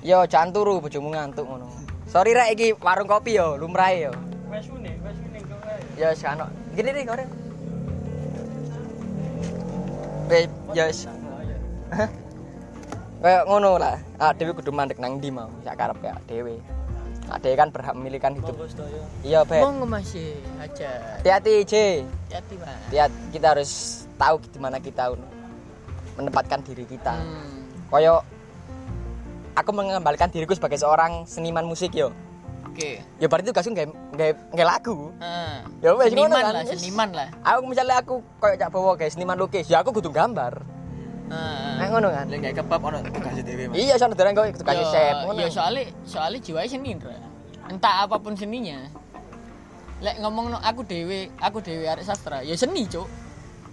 [SPEAKER 3] Yo, jangan turu bojomu ngantuk ngono. Sorry rek iki warung kopi yo, lumrahe yo. Wes une, wes une kowe. Yo, sakno. Gini nih korek. Wes, yo. wes. Hah? Kayak ngono lah. Ah, Dewi kudu mandek nang ndi mau, sak karep ya Dewi. Ah, Dewi kan berhak memilihkan hidup. Iya, Beb.
[SPEAKER 2] Monggo masih aja.
[SPEAKER 3] Hati-hati, J.
[SPEAKER 2] Hati mas.
[SPEAKER 3] Lihat, kita harus tahu di mana kita menempatkan diri kita.
[SPEAKER 2] Hmm.
[SPEAKER 3] koyo aku mengembalikan diriku sebagai seorang seniman musik yo
[SPEAKER 2] Oke.
[SPEAKER 3] ya berarti tugasku nggak nggak nggak lagu
[SPEAKER 2] Ah.
[SPEAKER 3] ya wes ngono
[SPEAKER 2] Seniman
[SPEAKER 3] kan
[SPEAKER 2] lah, seniman lah.
[SPEAKER 3] aku misalnya aku koyo cak bawa kayak seniman lukis ya aku kudu gambar
[SPEAKER 2] Ah.
[SPEAKER 3] nah, ngono kan
[SPEAKER 4] Lek gak kebab ono kasih dhewe, Mas.
[SPEAKER 3] iya soalnya dereng kok tugas
[SPEAKER 2] Ya,
[SPEAKER 3] set ngono
[SPEAKER 2] ya soalnya soalnya jiwa seni Ndra. entah apapun seninya lek ngomong aku dewe aku dewe arek sastra ya seni cuk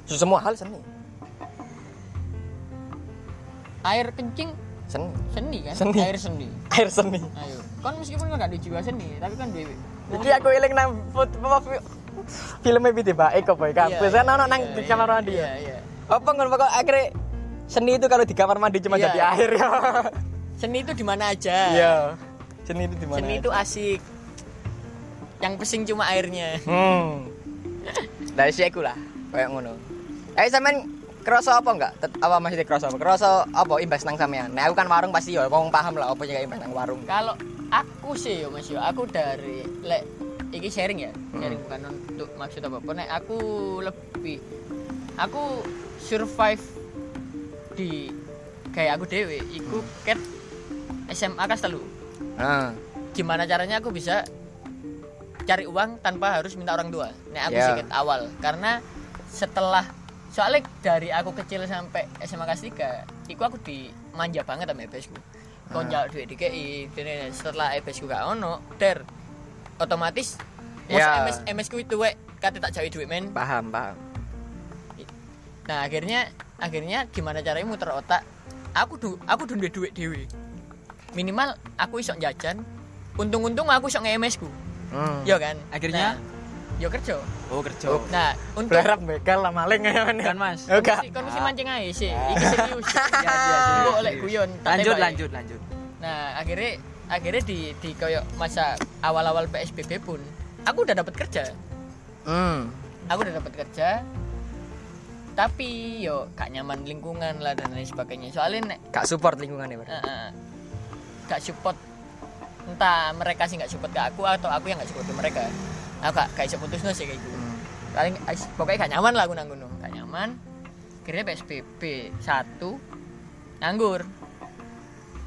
[SPEAKER 3] Su- semua hal seni
[SPEAKER 2] air kencing
[SPEAKER 3] seni
[SPEAKER 2] seni kan
[SPEAKER 3] Seni.
[SPEAKER 2] air seni
[SPEAKER 3] air seni
[SPEAKER 2] ayo kan meskipun kan gak ada jiwa seni tapi kan dewe
[SPEAKER 3] jadi aku eling nang foto filmnya Piti Baik kok boy kampus kan ono nang di kamar mandi
[SPEAKER 2] iya iya
[SPEAKER 3] apa ngono kok akhirnya seni itu kalau di kamar mandi cuma
[SPEAKER 2] Iya.
[SPEAKER 3] jadi air ya
[SPEAKER 2] seni itu di mana aja
[SPEAKER 3] iya seni itu di mana
[SPEAKER 2] seni itu asik yang pesing cuma airnya
[SPEAKER 3] Hmm. Dari si aku lah, kayak ngono. Eh sampean kerasa apa enggak? Tet- apa masih kerasa apa? Kerasa apa imbas nang sampean? Nah, aku kan warung pasti ya wong paham lah apa yang imbas nang warung.
[SPEAKER 2] kalau aku sih ya mas yo aku dari lek iki sharing ya sharing bukan untuk maksud apa pun nek aku lebih aku survive di kayak aku dewe iku ket SMA kas telu
[SPEAKER 3] Nah,
[SPEAKER 2] gimana caranya aku bisa cari uang tanpa harus minta orang tua nek aku
[SPEAKER 3] Ya.
[SPEAKER 2] sikit awal karena setelah soalnya dari aku kecil sampai SMA kelas 3 iku aku dimanja banget sama E
[SPEAKER 3] Ah.
[SPEAKER 2] EBSku kau nyal duit DKI dan setelah E EBSku gak ono der otomatis
[SPEAKER 3] Ya.
[SPEAKER 2] yeah. MS, MS ku itu wek kata tak jauhi duit men
[SPEAKER 3] paham, paham.
[SPEAKER 2] nah akhirnya akhirnya gimana caranya muter otak aku du aku duwe duit dewi minimal aku isok jajan untung-untung aku isok nge-MS ku
[SPEAKER 3] Hmm.
[SPEAKER 2] Iya kan?
[SPEAKER 4] Akhirnya?
[SPEAKER 2] Nah, yo kerja.
[SPEAKER 4] Oh, kerja.
[SPEAKER 3] Oh.
[SPEAKER 2] Nah, untuk
[SPEAKER 3] Berharap begal lah maling ya men.
[SPEAKER 4] Kan, Mas?
[SPEAKER 3] Oke.
[SPEAKER 2] Kon mesti- kon mesti mancing aja sih. Iki serius.
[SPEAKER 4] Ah. Iya, iya, iya.
[SPEAKER 2] Mbok Oh, lek guyon. tak
[SPEAKER 4] Lanjut,
[SPEAKER 2] tembak. ya?
[SPEAKER 4] lanjut, lanjut.
[SPEAKER 2] Nah, akhirnya akhirnya di di koyo masa awal-awal PSBB pun aku udah dapat kerja.
[SPEAKER 3] Hmm.
[SPEAKER 2] Aku udah dapat kerja. Tapi yo gak nyaman lingkungan lah dan lain sebagainya. Soalnya nek
[SPEAKER 3] Gak support lingkungannya, Bro.
[SPEAKER 2] eh, eh, gak support entah mereka sih gak support ke aku atau aku yang gak support ke mereka. Aku gak gak iso putusno sih kayak gitu. paling ais- pokoknya gak nyaman lah aku nang gunung gak nyaman akhirnya PSBB satu nganggur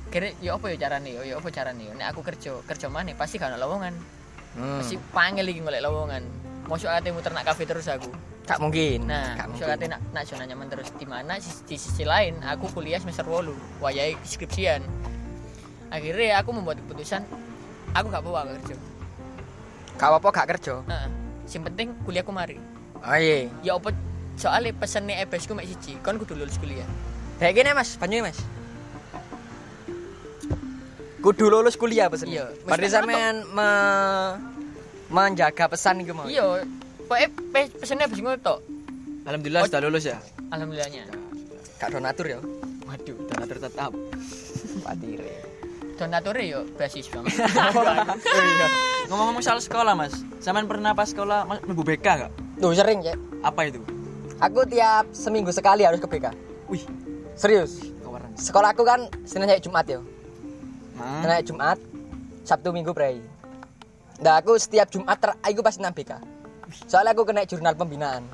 [SPEAKER 2] akhirnya ya apa ya carane ya ya apa carane ya nek aku kerja kerja mana pasti gak ada lowongan
[SPEAKER 3] Hmm.
[SPEAKER 2] pasti panggil lagi ngolek lowongan mau soalnya muter nak kafe terus aku
[SPEAKER 3] Gak mungkin.
[SPEAKER 2] nah
[SPEAKER 3] gak mungkin.
[SPEAKER 2] soalnya nak nak zona nyaman terus di mana sis- di sisi lain aku kuliah semester wolu wayai skripsian akhirnya aku membuat keputusan aku gak bawa kerja
[SPEAKER 3] Gak apa-apa gak kerja.
[SPEAKER 2] nah, yang penting kuliahku mari
[SPEAKER 3] Oh iya.
[SPEAKER 2] ya apa soalnya pesennya EBS ku mek siji kon kudu lulus kuliah
[SPEAKER 3] Kayak gini Mas, banyu Mas. Kudu lulus kuliah pesan.
[SPEAKER 2] Iya.
[SPEAKER 3] Berarti
[SPEAKER 2] Mesti
[SPEAKER 3] sampean me- menjaga pesan gitu, iku mau.
[SPEAKER 2] iya pokoknya pe- pesennya EBS ku tok Oh.
[SPEAKER 4] Alhamdulillah sudah lulus ya.
[SPEAKER 2] alhamdulillahnya
[SPEAKER 3] Gak donatur ya.
[SPEAKER 4] Waduh, donatur tetap.
[SPEAKER 3] Patire.
[SPEAKER 2] donaturnya yo beasiswa
[SPEAKER 4] Ngomong-ngomong soal sekolah, Mas. Sampean pernah pas sekolah Mas mlebu BK gak?
[SPEAKER 3] Duh sering ya.
[SPEAKER 4] Apa itu?
[SPEAKER 3] Aku tiap seminggu sekali harus ke BK.
[SPEAKER 4] Wih,
[SPEAKER 3] Serius.
[SPEAKER 4] kawaran.
[SPEAKER 3] Sekolahku kan Senin sampai Jumat ya. Senin
[SPEAKER 4] Nah,
[SPEAKER 3] sampai Jumat, Sabtu Minggu prei. Nah, aku setiap Jumat ter aku pasti nang BK. Soalnya aku kena jurnal pembinaan.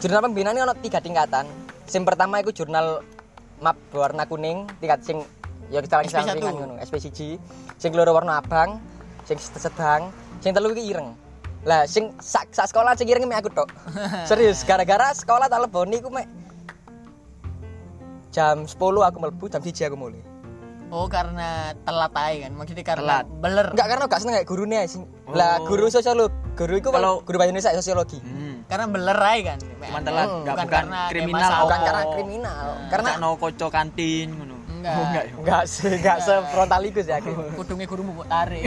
[SPEAKER 3] Jurnal pembinaan ini ono tiga tingkatan. Yang pertama itu jurnal map warna kuning, tingkat sing ya kita lagi
[SPEAKER 2] SP1.
[SPEAKER 3] ngono, SP1. Sing keloro warna abang, sing sedang, sing telu iki ireng. Lah sing sak, sak sekolah sing ireng mek aku tok. Serius, gara-gara sekolah tak leboni iku mek jam 10 aku mlebu, jam 1 aku mulai.
[SPEAKER 2] oh karena telat aja kan maksudnya karena
[SPEAKER 4] Telat.
[SPEAKER 2] beler
[SPEAKER 3] Enggak karena gak seneng kayak gurune sing. Lah
[SPEAKER 4] Oh.
[SPEAKER 3] guru sosiolog, guru iku
[SPEAKER 4] Kalau-
[SPEAKER 3] kalau guru bahasa Indonesia sosiologi.
[SPEAKER 4] hmm.
[SPEAKER 2] karena beler aja kan Mek.
[SPEAKER 4] Cuman telat,
[SPEAKER 3] Hmm,
[SPEAKER 4] gak
[SPEAKER 2] bukan
[SPEAKER 4] bukan
[SPEAKER 2] karena
[SPEAKER 4] kriminal.
[SPEAKER 2] masalah.
[SPEAKER 3] Bukan
[SPEAKER 2] Oh.
[SPEAKER 3] karena kriminal,
[SPEAKER 4] karena
[SPEAKER 3] karena
[SPEAKER 4] no koco kantin ngono.
[SPEAKER 2] Enggak.
[SPEAKER 4] Oh, enggak ya.
[SPEAKER 3] enggak se enggak sefrontal iku sih aku.
[SPEAKER 2] kudungnya gurumu buat tarik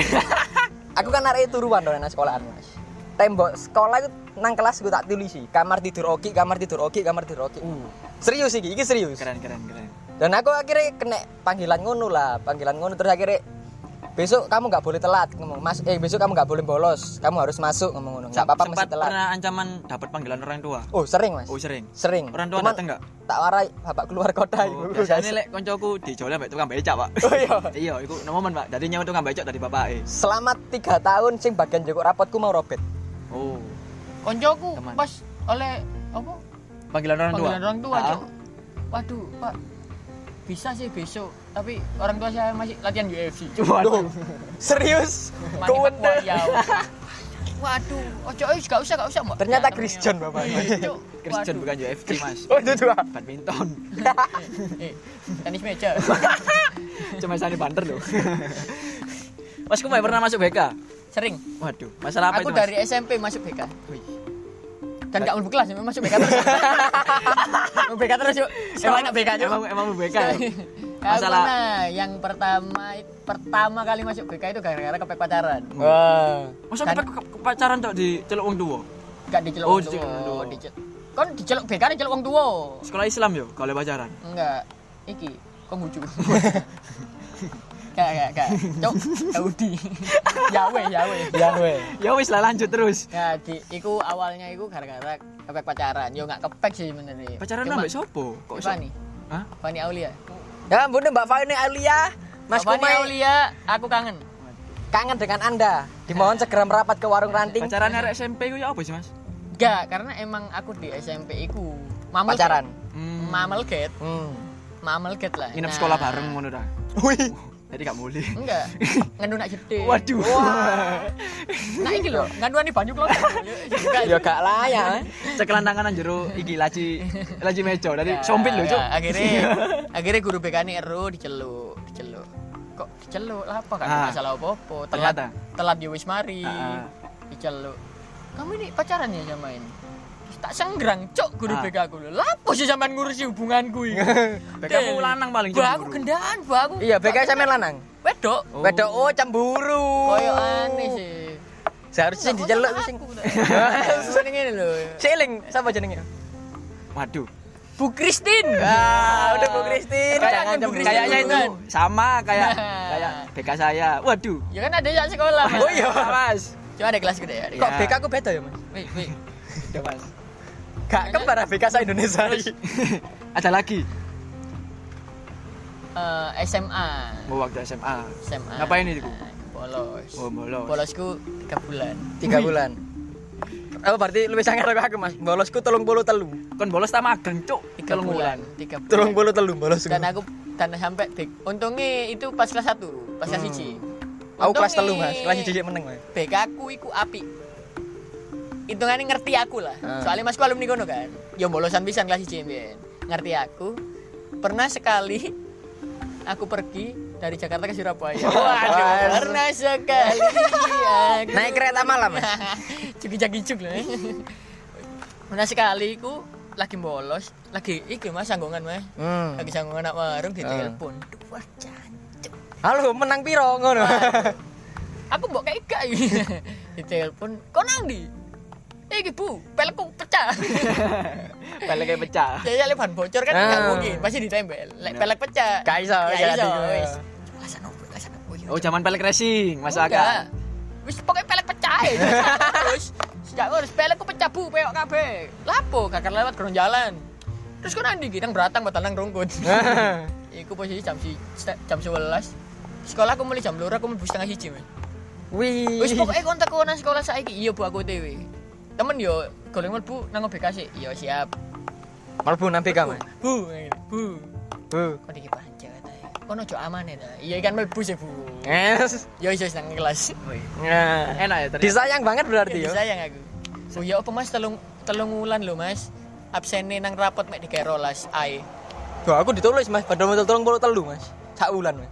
[SPEAKER 3] Aku kan arek turuan dong nang sekolahan, Mas. Tembok sekolah itu nang kelas gue tak tulis sih. Kamar tidur oki, kamar tidur oki, kamar tidur oki.
[SPEAKER 4] Uh,
[SPEAKER 3] Serius iki, iki serius.
[SPEAKER 4] keren keren keren.
[SPEAKER 3] dan aku akhirnya kena panggilan ngono lah panggilan ngono terus akhirnya besok kamu nggak boleh telat ngomong mas eh besok kamu nggak boleh bolos kamu harus masuk ngomong ngono nggak apa-apa mesti
[SPEAKER 4] Sempat
[SPEAKER 3] telat
[SPEAKER 4] pernah ancaman dapat panggilan orang tua.
[SPEAKER 3] oh sering mas
[SPEAKER 4] Oh sering.
[SPEAKER 3] sering
[SPEAKER 4] Orang tua
[SPEAKER 3] Cuman
[SPEAKER 4] datang nggak?
[SPEAKER 3] tak warai bapak keluar kota
[SPEAKER 4] Oh,
[SPEAKER 3] ibu,
[SPEAKER 4] biasanya
[SPEAKER 3] guys.
[SPEAKER 4] lek koncoku dijolek mbek tukang becak, Pak.
[SPEAKER 3] oh iya
[SPEAKER 4] iya, iku nemomen, Pak. Dari nyawa tukang becak dari bapake.
[SPEAKER 3] selama tiga tahun sing bagian joko rapotku mau robet
[SPEAKER 4] Oh,
[SPEAKER 2] koncoku
[SPEAKER 4] Teman.
[SPEAKER 2] pas oleh apa
[SPEAKER 4] panggilan orang tua.
[SPEAKER 2] panggilan orang tua
[SPEAKER 4] Ah,
[SPEAKER 2] Cok. waduh pak bisa sih besok tapi orang tua saya masih latihan UFC
[SPEAKER 4] Waduh.
[SPEAKER 3] serius
[SPEAKER 2] Mani
[SPEAKER 3] kewende
[SPEAKER 2] Pacquiao. ya waduh ojo oh, gak usah gak usah mbak
[SPEAKER 3] ternyata
[SPEAKER 2] Jangan,
[SPEAKER 3] Christian
[SPEAKER 2] ya.
[SPEAKER 3] bapak
[SPEAKER 2] Iya, Cok.
[SPEAKER 4] Christian
[SPEAKER 2] Waduh.
[SPEAKER 4] bukan UFC, Mas.
[SPEAKER 3] oh itu dua
[SPEAKER 4] Badminton.
[SPEAKER 2] eh tenis meja
[SPEAKER 4] Cuma sani banter loh. Mas, kamu pernah masuk BK?
[SPEAKER 2] sering
[SPEAKER 4] Waduh, masalah apa
[SPEAKER 2] aku
[SPEAKER 4] itu, Mas?
[SPEAKER 2] dari SMP masuk BK
[SPEAKER 4] Wih.
[SPEAKER 2] dan gak mulai kelas masuk BK terus Masuk BK terus yuk emang anak BK yuk
[SPEAKER 4] Emang emang BK. ya?
[SPEAKER 2] Masalah
[SPEAKER 4] Masalah-
[SPEAKER 2] yang pertama pertama kali masuk BK itu gara-gara kepek pacaran.
[SPEAKER 3] wah
[SPEAKER 4] Masa kita ke- ke- pacaran tok di celuk wong tua?
[SPEAKER 2] Gak diceluk
[SPEAKER 4] Oh,
[SPEAKER 2] wong
[SPEAKER 4] diceluk wong
[SPEAKER 2] tuwa,
[SPEAKER 4] tuwa.
[SPEAKER 2] dicel- Kon diceluk BK diceluk wong tuwa.
[SPEAKER 4] Sekolah Islam yo, kalau pacaran.
[SPEAKER 2] Enggak. Iki konghucu. Gak gak gak. Cok, Saudi. Yawe yawe.
[SPEAKER 3] ya we
[SPEAKER 4] Ya wis lah lanjut terus.
[SPEAKER 2] Nah, di, iku awalnya iku gara-gara kepek pacaran. Yo gak kepek sih sebenarnya.
[SPEAKER 4] Pacaran
[SPEAKER 2] Cuma-
[SPEAKER 4] ambek sopo? Kok iso?
[SPEAKER 2] Fani.
[SPEAKER 4] Hah?
[SPEAKER 2] Fani Aulia.
[SPEAKER 3] ya bunda mbak Fani Alia Mas
[SPEAKER 2] Fani
[SPEAKER 3] Kumai
[SPEAKER 2] Aulia, aku kangen.
[SPEAKER 3] kangen dengan anda dimohon segera merapat ke warung ranting
[SPEAKER 4] Pacaran arek SMP ku ya apa sih, Mas?
[SPEAKER 2] Gak, karena emang aku di SMP iku mamel
[SPEAKER 3] pacaran
[SPEAKER 4] Hmm.
[SPEAKER 2] Mamelget,
[SPEAKER 3] hmm.
[SPEAKER 2] Mamelget lah.
[SPEAKER 4] Nginep
[SPEAKER 2] Nah,
[SPEAKER 4] sekolah bareng ngono dah.
[SPEAKER 3] Wih,
[SPEAKER 4] Jadi gak boleh.
[SPEAKER 2] Enggak. Ngendu nak gede.
[SPEAKER 4] Waduh.
[SPEAKER 2] Nah ini loh, ngendu nih banyu keluar.
[SPEAKER 3] ya gak layak.
[SPEAKER 4] Cekelan tanganan jero iki laci laci meja dari
[SPEAKER 2] Ya.
[SPEAKER 4] sompit lho, Cuk.
[SPEAKER 2] Akhirnya akhirnya guru BK nih eru diceluk, diceluk. Kok diceluk? Lah apa gak ada
[SPEAKER 4] Ah.
[SPEAKER 2] masalah apa-apa. Telat,
[SPEAKER 4] Telat, ah.
[SPEAKER 2] telat ya wis mari.
[SPEAKER 4] Ah, ah.
[SPEAKER 2] Diceluk. Kamu ini pacaran ya sama ini? Terus tak senggrang cok guru
[SPEAKER 4] Ah.
[SPEAKER 2] BK aku lho. Lapo sih sampean ngurusi hubunganku iki?
[SPEAKER 4] BK mu lanang paling
[SPEAKER 2] Bah
[SPEAKER 4] cemburu.
[SPEAKER 2] aku gendaan, bah aku.
[SPEAKER 3] Iya, BK sampean lanang.
[SPEAKER 2] Wedok.
[SPEAKER 4] Oh.
[SPEAKER 3] Wedok oh cemburu.
[SPEAKER 2] Koyo aneh sih.
[SPEAKER 3] Seharusnya dijeluk sing.
[SPEAKER 2] Seneng ini lho.
[SPEAKER 3] Celing, siapa jenenge?
[SPEAKER 4] Waduh.
[SPEAKER 2] Bu Kristin.
[SPEAKER 3] Ah, udah Bu Kristin.
[SPEAKER 2] Kayak-
[SPEAKER 3] Jangan
[SPEAKER 2] Bu
[SPEAKER 3] cemburu.
[SPEAKER 2] Christine
[SPEAKER 4] Kayaknya itu
[SPEAKER 2] duluan.
[SPEAKER 4] sama kayak kayak BK saya. Waduh.
[SPEAKER 2] Ya kan ada yang sekolah. Mas.
[SPEAKER 4] Oh iya, Mas.
[SPEAKER 2] Cuma ada kelas gede ya.
[SPEAKER 3] Kok
[SPEAKER 4] Ya.
[SPEAKER 3] BK aku beda ya, Mas?
[SPEAKER 2] Wih, wih.
[SPEAKER 4] Udah, Mas.
[SPEAKER 3] Gak kembar ah, BK saya Indonesia.
[SPEAKER 4] Ada lagi.
[SPEAKER 2] Eh, SMA.
[SPEAKER 4] Oh, waktu SMA.
[SPEAKER 2] SMA.
[SPEAKER 4] Ngapain itu? Bu?
[SPEAKER 2] Bolos.
[SPEAKER 4] Oh, bolos.
[SPEAKER 2] Bolosku 3 bulan.
[SPEAKER 3] Tiga bulan. Oh, berarti lebih sangar aku, aku Mas. Bolosku tolong bolu telu.
[SPEAKER 4] Kon bolos ta magang, Cuk.
[SPEAKER 2] 3
[SPEAKER 4] Telung
[SPEAKER 2] bulan. 3 bulan.
[SPEAKER 3] Tolong bolu telu bolosku.
[SPEAKER 2] Dan aku dan sampai big. Untungnya itu pas kelas 1, pas kelas 1.
[SPEAKER 3] Aku kelas telu, Mas. Kelas cilik meneng, Mas.
[SPEAKER 2] BK aku iku api. Hitungannya ngerti aku lah.
[SPEAKER 3] Ah.
[SPEAKER 2] Soalnya masku alumni kono kan. Ya bolosan pisan kelas 1 mbiyen. Ngerti aku. Pernah sekali aku pergi dari Jakarta ke Surabaya. Waduh, pernah sekali aku.
[SPEAKER 3] Naik kereta malam, Mas.
[SPEAKER 2] Cuki-cuki lah. pernah sekali aku lagi bolos, lagi iki Mas sanggongan Mas.
[SPEAKER 3] Hmm.
[SPEAKER 2] Lagi sanggongan nak warung
[SPEAKER 3] Ah.
[SPEAKER 2] ditelepon. Wah, jancuk.
[SPEAKER 3] Halo, menang piro ngono.
[SPEAKER 2] aku mbok kayak gak di telepon kok nang di eh bu pelekku pecah
[SPEAKER 4] Balik kayak pecah.
[SPEAKER 2] jadi lek ban bocor kan nggak
[SPEAKER 3] Ah.
[SPEAKER 2] mungkin pasti ditempel lek pelek pecah
[SPEAKER 3] Gak iso,
[SPEAKER 2] gak
[SPEAKER 3] gak
[SPEAKER 2] iso
[SPEAKER 3] ada.
[SPEAKER 2] wis Kasan opo, kasan opo, iya.
[SPEAKER 4] Oh, zaman balik racing, Mas
[SPEAKER 2] Enggak.
[SPEAKER 4] Aga.
[SPEAKER 2] wis pokoknya pelek pecah ya. terus sejak harus pelekku pecah bu peok kabeh lapo kakak lewat gerong jalan terus kok nang di gidang beratang batal nang rungkut iku posisi jam si jam 11 sekolah aku mulai jam loro aku mlebu setengah siji Mas.
[SPEAKER 3] Wih.
[SPEAKER 2] Wis pokoke kontak kono sekolah saiki. Iya Bu aku TW. Temen yo goleng mlebu nang OBK sik. Iya siap.
[SPEAKER 3] Mlebu nang BK, Iya, Mas.
[SPEAKER 2] Bu, ngene, Bu.
[SPEAKER 3] Bu.
[SPEAKER 2] Kok iki panjang ta. ya? Kono jo amane ta. Iya ikan mlebu sih Bu.
[SPEAKER 3] Eh? Yes.
[SPEAKER 2] Yo iso nang kelas.
[SPEAKER 3] Nah.
[SPEAKER 4] Enak ya ternyata.
[SPEAKER 3] Disayang banget berarti ya.
[SPEAKER 2] Sayang aku. Bu yo apa Mas telung telung wulan lho Mas. Absene nang rapot mek dikerolas ae.
[SPEAKER 3] Duh, aku ditulis mas, padahal mau tolong bolu telu mas, sak ulan mas.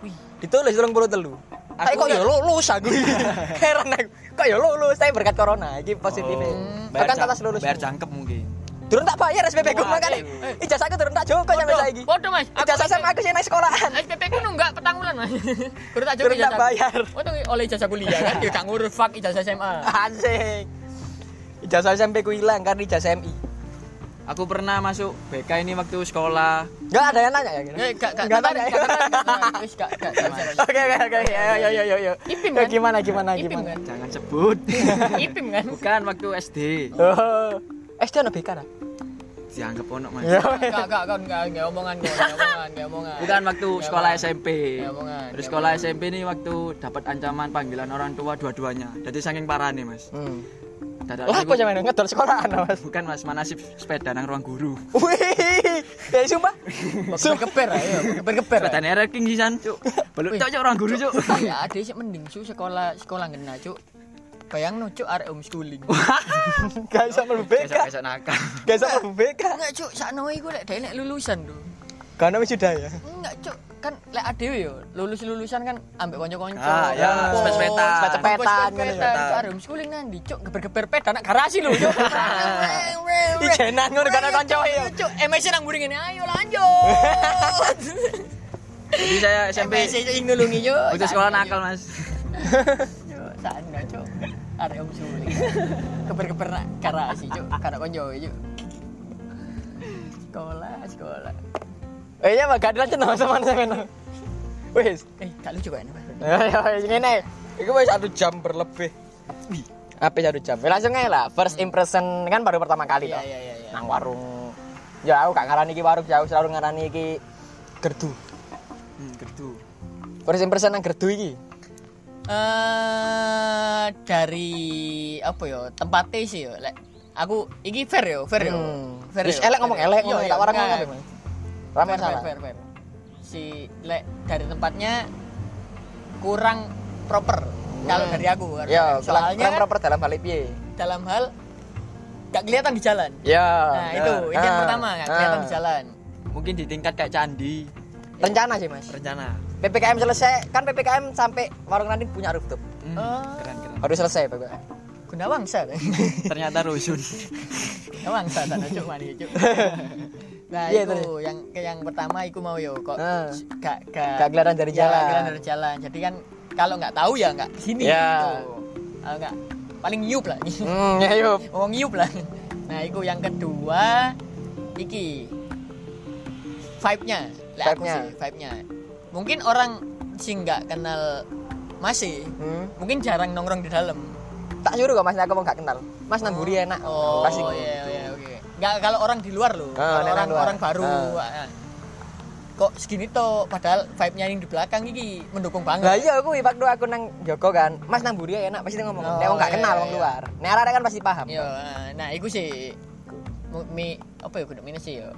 [SPEAKER 2] Wih.
[SPEAKER 3] Ditulis tolong bolu telu. Tapi kok
[SPEAKER 4] Aku
[SPEAKER 3] ya lulus aku. Heran aku. Kok ya lulus, tapi berkat corona, ini positifnya.
[SPEAKER 4] Oh. bayar
[SPEAKER 3] Bahkan
[SPEAKER 4] cang-
[SPEAKER 3] atas lulus.
[SPEAKER 4] Bayar cangkep mungkin.
[SPEAKER 3] Turun tak bayar SPP ku kan?
[SPEAKER 2] Wah,
[SPEAKER 3] makane.
[SPEAKER 2] eh, eh.
[SPEAKER 3] Ijazahku turun tak joko sampai
[SPEAKER 2] Bodoh,
[SPEAKER 3] saiki.
[SPEAKER 2] bodoh, Mas. Aku
[SPEAKER 3] Ijazah
[SPEAKER 2] sampai-
[SPEAKER 3] sama aku sih naik sekolahan.
[SPEAKER 2] SPP ku nunggak petang wulan Mas. Guru tak
[SPEAKER 3] Guru tak bayar.
[SPEAKER 2] Untung oleh ijazah kuliah kan yo gak ngurus fuck ijazah SMA.
[SPEAKER 3] Asik. Ijazah SMP ku hilang karena ijazah MI.
[SPEAKER 4] aku pernah masuk BK ini waktu sekolah
[SPEAKER 3] Enggak ada yang nanya ya? Gini?
[SPEAKER 2] Eh, gak, gak,
[SPEAKER 3] Nggak
[SPEAKER 2] gak,
[SPEAKER 3] tanya
[SPEAKER 2] gak,
[SPEAKER 3] ya?
[SPEAKER 2] Wis, gak, gak, gak, gak.
[SPEAKER 3] Oke oke oke. Ayo ayo ayo ayo.
[SPEAKER 2] Ipim,
[SPEAKER 3] Ya,
[SPEAKER 2] kan?
[SPEAKER 3] Gimana gimana
[SPEAKER 2] Ipim
[SPEAKER 3] gimana?
[SPEAKER 2] kan?
[SPEAKER 4] jangan sebut
[SPEAKER 2] Ipim kan?
[SPEAKER 4] bukan waktu SD
[SPEAKER 3] Oh. SD ono BK ra?
[SPEAKER 4] dianggap ono mas
[SPEAKER 3] Ya. weh.
[SPEAKER 2] Gak, gak, gak, gak, gak omongan, gak omongan, gak omongan.
[SPEAKER 4] bukan waktu
[SPEAKER 2] Gak
[SPEAKER 4] sekolah
[SPEAKER 2] omongan.
[SPEAKER 4] SMP
[SPEAKER 2] Ya, omongan,
[SPEAKER 4] terus
[SPEAKER 2] ya,
[SPEAKER 4] sekolah
[SPEAKER 2] omongan.
[SPEAKER 4] SMP ini waktu dapat ancaman panggilan orang tua dua-duanya jadi saking parah nih mas
[SPEAKER 3] Hmm.
[SPEAKER 4] Dadak
[SPEAKER 3] Lah
[SPEAKER 4] aku-
[SPEAKER 3] kok jaman ngedol sekolahan Mas.
[SPEAKER 4] bukan mas manasib sepeda nang ruang guru
[SPEAKER 3] Wih. Ya sumpah.
[SPEAKER 2] Keper-keper ya, keper-keper.
[SPEAKER 4] sepeda ranking sih san cuk belum
[SPEAKER 2] Wih.
[SPEAKER 4] cuk cuk, ruang guru cuk
[SPEAKER 2] Ya, ade sih mending cu sekolah sekolah ngena cu. Bayang no cu arek homeschooling.
[SPEAKER 3] Gak iso mlebu BK.
[SPEAKER 4] besok besok nakal
[SPEAKER 3] Gak iso mlebu BK.
[SPEAKER 2] Enggak cu, sakno iku lek dhewe nek lulusan tuh.
[SPEAKER 3] Karena wis sudah ya.
[SPEAKER 2] Enggak cu, kan lek ade yo lulus-lulusan kan ambek kanca-kanca.
[SPEAKER 4] Ah, ya,
[SPEAKER 2] Kampus,
[SPEAKER 4] sepet-sepetan.
[SPEAKER 3] Sepet-sepetan,
[SPEAKER 2] kampus,
[SPEAKER 3] gitu
[SPEAKER 2] Sepet-sepetan. Cu, Arek homeschooling nanti cu geber-geber peda nak garasi lho cu.
[SPEAKER 4] Ah.
[SPEAKER 3] Ijenan ngono karena kanca yo.
[SPEAKER 2] Cu, MSC nang mburi ngene, ayo lanjut.
[SPEAKER 4] jadi saya SMP
[SPEAKER 2] MSC cu ing nulungi cu.
[SPEAKER 3] Oh,
[SPEAKER 4] waktu sekolah
[SPEAKER 2] Sakno, Cu.
[SPEAKER 4] nakal mas
[SPEAKER 2] Cuk, sana cuk. Arek om suling. Keper-keper nak karasi cuk, karo konjo cuk. Sekolah, sekolah.
[SPEAKER 3] Eh ya gak dilanjut no sama sampean. Wis.
[SPEAKER 2] Eh, gak lucu kan?
[SPEAKER 3] Iya, Ayo ayo, ngene. Iku wis satu jam berlebih. Apa satu jam? Ya, Langsung aja lah. First impression kan baru pertama kali
[SPEAKER 2] Hmm. Iya,
[SPEAKER 3] toh.
[SPEAKER 2] iya, iya, iya.
[SPEAKER 3] Nang warung. Ya aku gak ngarani iki warung, ya aku selalu ngarani iki gerdu.
[SPEAKER 4] hmm, gitu
[SPEAKER 3] First impression nang gerdu iki.
[SPEAKER 2] Eh, dari apa ya? Tempatnya sih yo. Lek aku iki fair yo, fair yo.
[SPEAKER 3] Hmm.
[SPEAKER 2] Fair ya.
[SPEAKER 3] Wis
[SPEAKER 2] yo,
[SPEAKER 3] elek ngomong
[SPEAKER 2] fair yo.
[SPEAKER 3] elek
[SPEAKER 2] Yo,
[SPEAKER 3] ngono
[SPEAKER 2] yo,
[SPEAKER 3] tak warang
[SPEAKER 2] enggak.
[SPEAKER 3] ngono apa. Ramai
[SPEAKER 2] iya. Nah, Fair,
[SPEAKER 3] salah.
[SPEAKER 2] fair, fair, fair. Si lek dari tempatnya kurang proper kalau
[SPEAKER 3] Hmm.
[SPEAKER 2] dari aku. Karena
[SPEAKER 3] Ya, kurang
[SPEAKER 2] soalnya
[SPEAKER 3] kurang
[SPEAKER 2] kan
[SPEAKER 3] proper dalam hal piye?
[SPEAKER 2] dalam hal gak kelihatan di jalan.
[SPEAKER 3] Ya.
[SPEAKER 2] Nah itu, ini yang
[SPEAKER 3] Ah,
[SPEAKER 2] pertama nggak kelihatan
[SPEAKER 3] ah.
[SPEAKER 2] di jalan.
[SPEAKER 4] mungkin di tingkat kayak candi
[SPEAKER 3] Rencana sih, Mas.
[SPEAKER 4] rencana
[SPEAKER 3] PPKM selesai, kan PPKM sampai warung nanti punya rooftop.
[SPEAKER 4] Hmm,
[SPEAKER 2] Oh.
[SPEAKER 4] keren keren
[SPEAKER 3] Harus selesai, Pak.
[SPEAKER 2] Gunawangsa, kan?
[SPEAKER 4] ternyata rusun
[SPEAKER 2] Gunawangsa tak cuk mari cuk. Nah
[SPEAKER 3] Iya,
[SPEAKER 2] itu
[SPEAKER 3] terus.
[SPEAKER 2] yang ke- yang pertama iku mau yo kok
[SPEAKER 3] Ah.
[SPEAKER 2] gak gak
[SPEAKER 3] Gak kelihatan dari
[SPEAKER 2] ya,
[SPEAKER 3] jalan.
[SPEAKER 2] kelihatan dari jalan. Jadi kan kalau nggak tahu ya nggak sini.
[SPEAKER 3] Ya.
[SPEAKER 2] gitu. Kalau nggak paling nyup lah.
[SPEAKER 3] Hmm, ayo.
[SPEAKER 2] Ngomong nyup Oh, lah. Nah iku yang kedua iki vibe-nya. Lah aku
[SPEAKER 3] Vibe-nya.
[SPEAKER 2] sih vibe-nya. Mungkin orang sih nggak kenal masih
[SPEAKER 3] Hmm.
[SPEAKER 2] mungkin jarang nongkrong di dalam.
[SPEAKER 3] tak nyuruh kok masnya aku mau gak kenal mas nang buri enak
[SPEAKER 2] Oh,
[SPEAKER 3] pasti gitu.
[SPEAKER 2] iya iya oke. Nggak kalau orang di luar loh,
[SPEAKER 3] Ah,
[SPEAKER 2] kalau
[SPEAKER 3] nek
[SPEAKER 2] orang
[SPEAKER 3] nang luar.
[SPEAKER 2] orang baru. ah. Kok segini toh padahal vibe-nya yang di belakang iki mendukung banget.
[SPEAKER 3] lah iya aku waktu aku nang Joko kan mas nang buri enak pasti dia ngomong
[SPEAKER 2] Oh,
[SPEAKER 3] nek wong gak
[SPEAKER 2] iya,
[SPEAKER 3] kenal wong
[SPEAKER 2] iya.
[SPEAKER 3] luar nek arek kan pasti paham
[SPEAKER 2] Yo, ah, nah iku sih mu- mi apa ya kudu minus sih yo.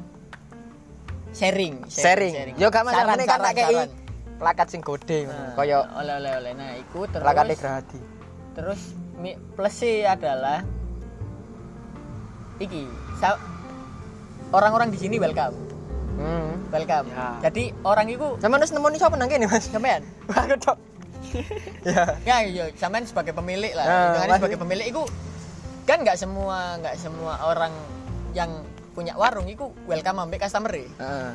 [SPEAKER 2] Sharing,
[SPEAKER 3] sharing yo gak masalah ini kan tak kei
[SPEAKER 2] saran.
[SPEAKER 3] plakat sing gede
[SPEAKER 2] Nah,
[SPEAKER 3] koyo
[SPEAKER 2] oleh oleh oleh. Nah, iku terus
[SPEAKER 3] plakat Grahadi
[SPEAKER 2] terus mi plus sih adalah iki sa- orang-orang di sini welcome.
[SPEAKER 3] hmm
[SPEAKER 2] welcome.
[SPEAKER 4] Ya.
[SPEAKER 2] Jadi orang itu
[SPEAKER 3] sama terus nemoni sapa nang kene mas
[SPEAKER 2] sampean.
[SPEAKER 3] aku tok ya
[SPEAKER 2] Ya, iya, sampean sebagai pemilik lah.
[SPEAKER 3] Ya,
[SPEAKER 2] Hitungannya
[SPEAKER 3] pasti.
[SPEAKER 2] sebagai pemilik itu kan nggak semua nggak semua orang yang punya warung itu welcome ambek customer -e.
[SPEAKER 3] Heeh.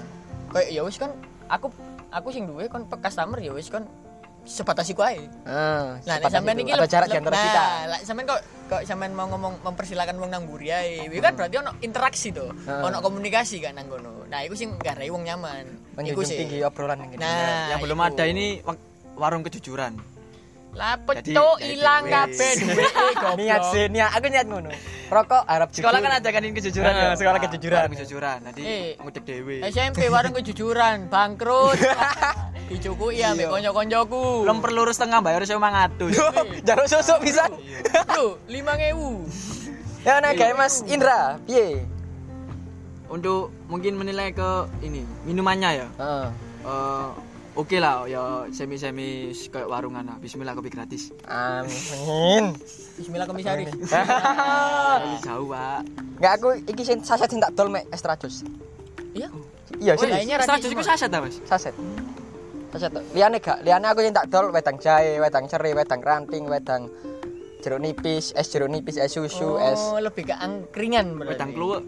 [SPEAKER 2] Kayak ya wis kan aku aku sing duwe kon pe customer ya wis kon sebatas iku ae.
[SPEAKER 3] Heeh,
[SPEAKER 2] Nah, nek
[SPEAKER 3] sepakat
[SPEAKER 2] sampean
[SPEAKER 3] itu.
[SPEAKER 2] iki
[SPEAKER 3] ada
[SPEAKER 2] leb-
[SPEAKER 3] jarak di
[SPEAKER 2] leb-
[SPEAKER 3] antara
[SPEAKER 2] nah,
[SPEAKER 3] kita
[SPEAKER 2] Lah sampean kok kok sampean mau ngomong mempersilakan wong nang mburi ae. Iku
[SPEAKER 3] Hmm.
[SPEAKER 2] kan berarti ono interaksi to.
[SPEAKER 3] Heeh.
[SPEAKER 2] Ono komunikasi kan nang kono. Nah, iku sing garai wong nyaman. Iku
[SPEAKER 3] menjunjung tinggi
[SPEAKER 2] sih.
[SPEAKER 3] obrolan Iya. yang gini.
[SPEAKER 2] Nah,
[SPEAKER 4] yang belum
[SPEAKER 2] iku.
[SPEAKER 4] ada ini wak- warung kejujuran
[SPEAKER 2] Lah
[SPEAKER 4] Jadi-
[SPEAKER 2] pecuk
[SPEAKER 4] jadi
[SPEAKER 2] ilang
[SPEAKER 4] duit.
[SPEAKER 2] kabeh duit goblok.
[SPEAKER 3] niat sih niat aku niat ngono rokok harap jujur
[SPEAKER 4] sekolah kan ajakan kejujuran
[SPEAKER 3] Ah,
[SPEAKER 4] ya?
[SPEAKER 3] sekolah
[SPEAKER 4] Ah,
[SPEAKER 3] kejujuran.
[SPEAKER 4] warung kejujuran nanti
[SPEAKER 2] Eh.
[SPEAKER 4] ngudek dewe
[SPEAKER 2] SMP warung kejujuran bangkrut. Dicukui
[SPEAKER 3] Iya.
[SPEAKER 2] ya mbek kanca-kancaku.
[SPEAKER 4] belum perlu lurus tengah bayar saya mang
[SPEAKER 3] jalur susuk bisa
[SPEAKER 2] Iya. Lho, 5000.
[SPEAKER 3] ya nah
[SPEAKER 2] Iya.
[SPEAKER 3] kayak mas Indra piye
[SPEAKER 4] untuk mungkin menilai ke ini minumannya ya
[SPEAKER 3] Heeh.
[SPEAKER 4] Eh, oke lah ya semi semi kayak warungan lah Bismillah kopi gratis
[SPEAKER 3] Amin.
[SPEAKER 2] Bismillah komisaris.
[SPEAKER 4] Ini jauh pak
[SPEAKER 3] Enggak aku iki sing saset sing tak dol mek extra jus.
[SPEAKER 2] Iya.
[SPEAKER 3] Iya
[SPEAKER 2] Oh,
[SPEAKER 3] serius.
[SPEAKER 2] kayaknya
[SPEAKER 4] setelah
[SPEAKER 2] rati
[SPEAKER 4] jus itu
[SPEAKER 2] semua.
[SPEAKER 4] saset ta mas
[SPEAKER 3] Saset. Saset. tuh. Liane gak, liane aku sing tak dol wedang jahe, wedang ceri, wedang ranting, wedang jeruk nipis, es jeruk nipis, es susu, es
[SPEAKER 2] Oh, lebih ke angkringan berarti.
[SPEAKER 4] wedang kluwek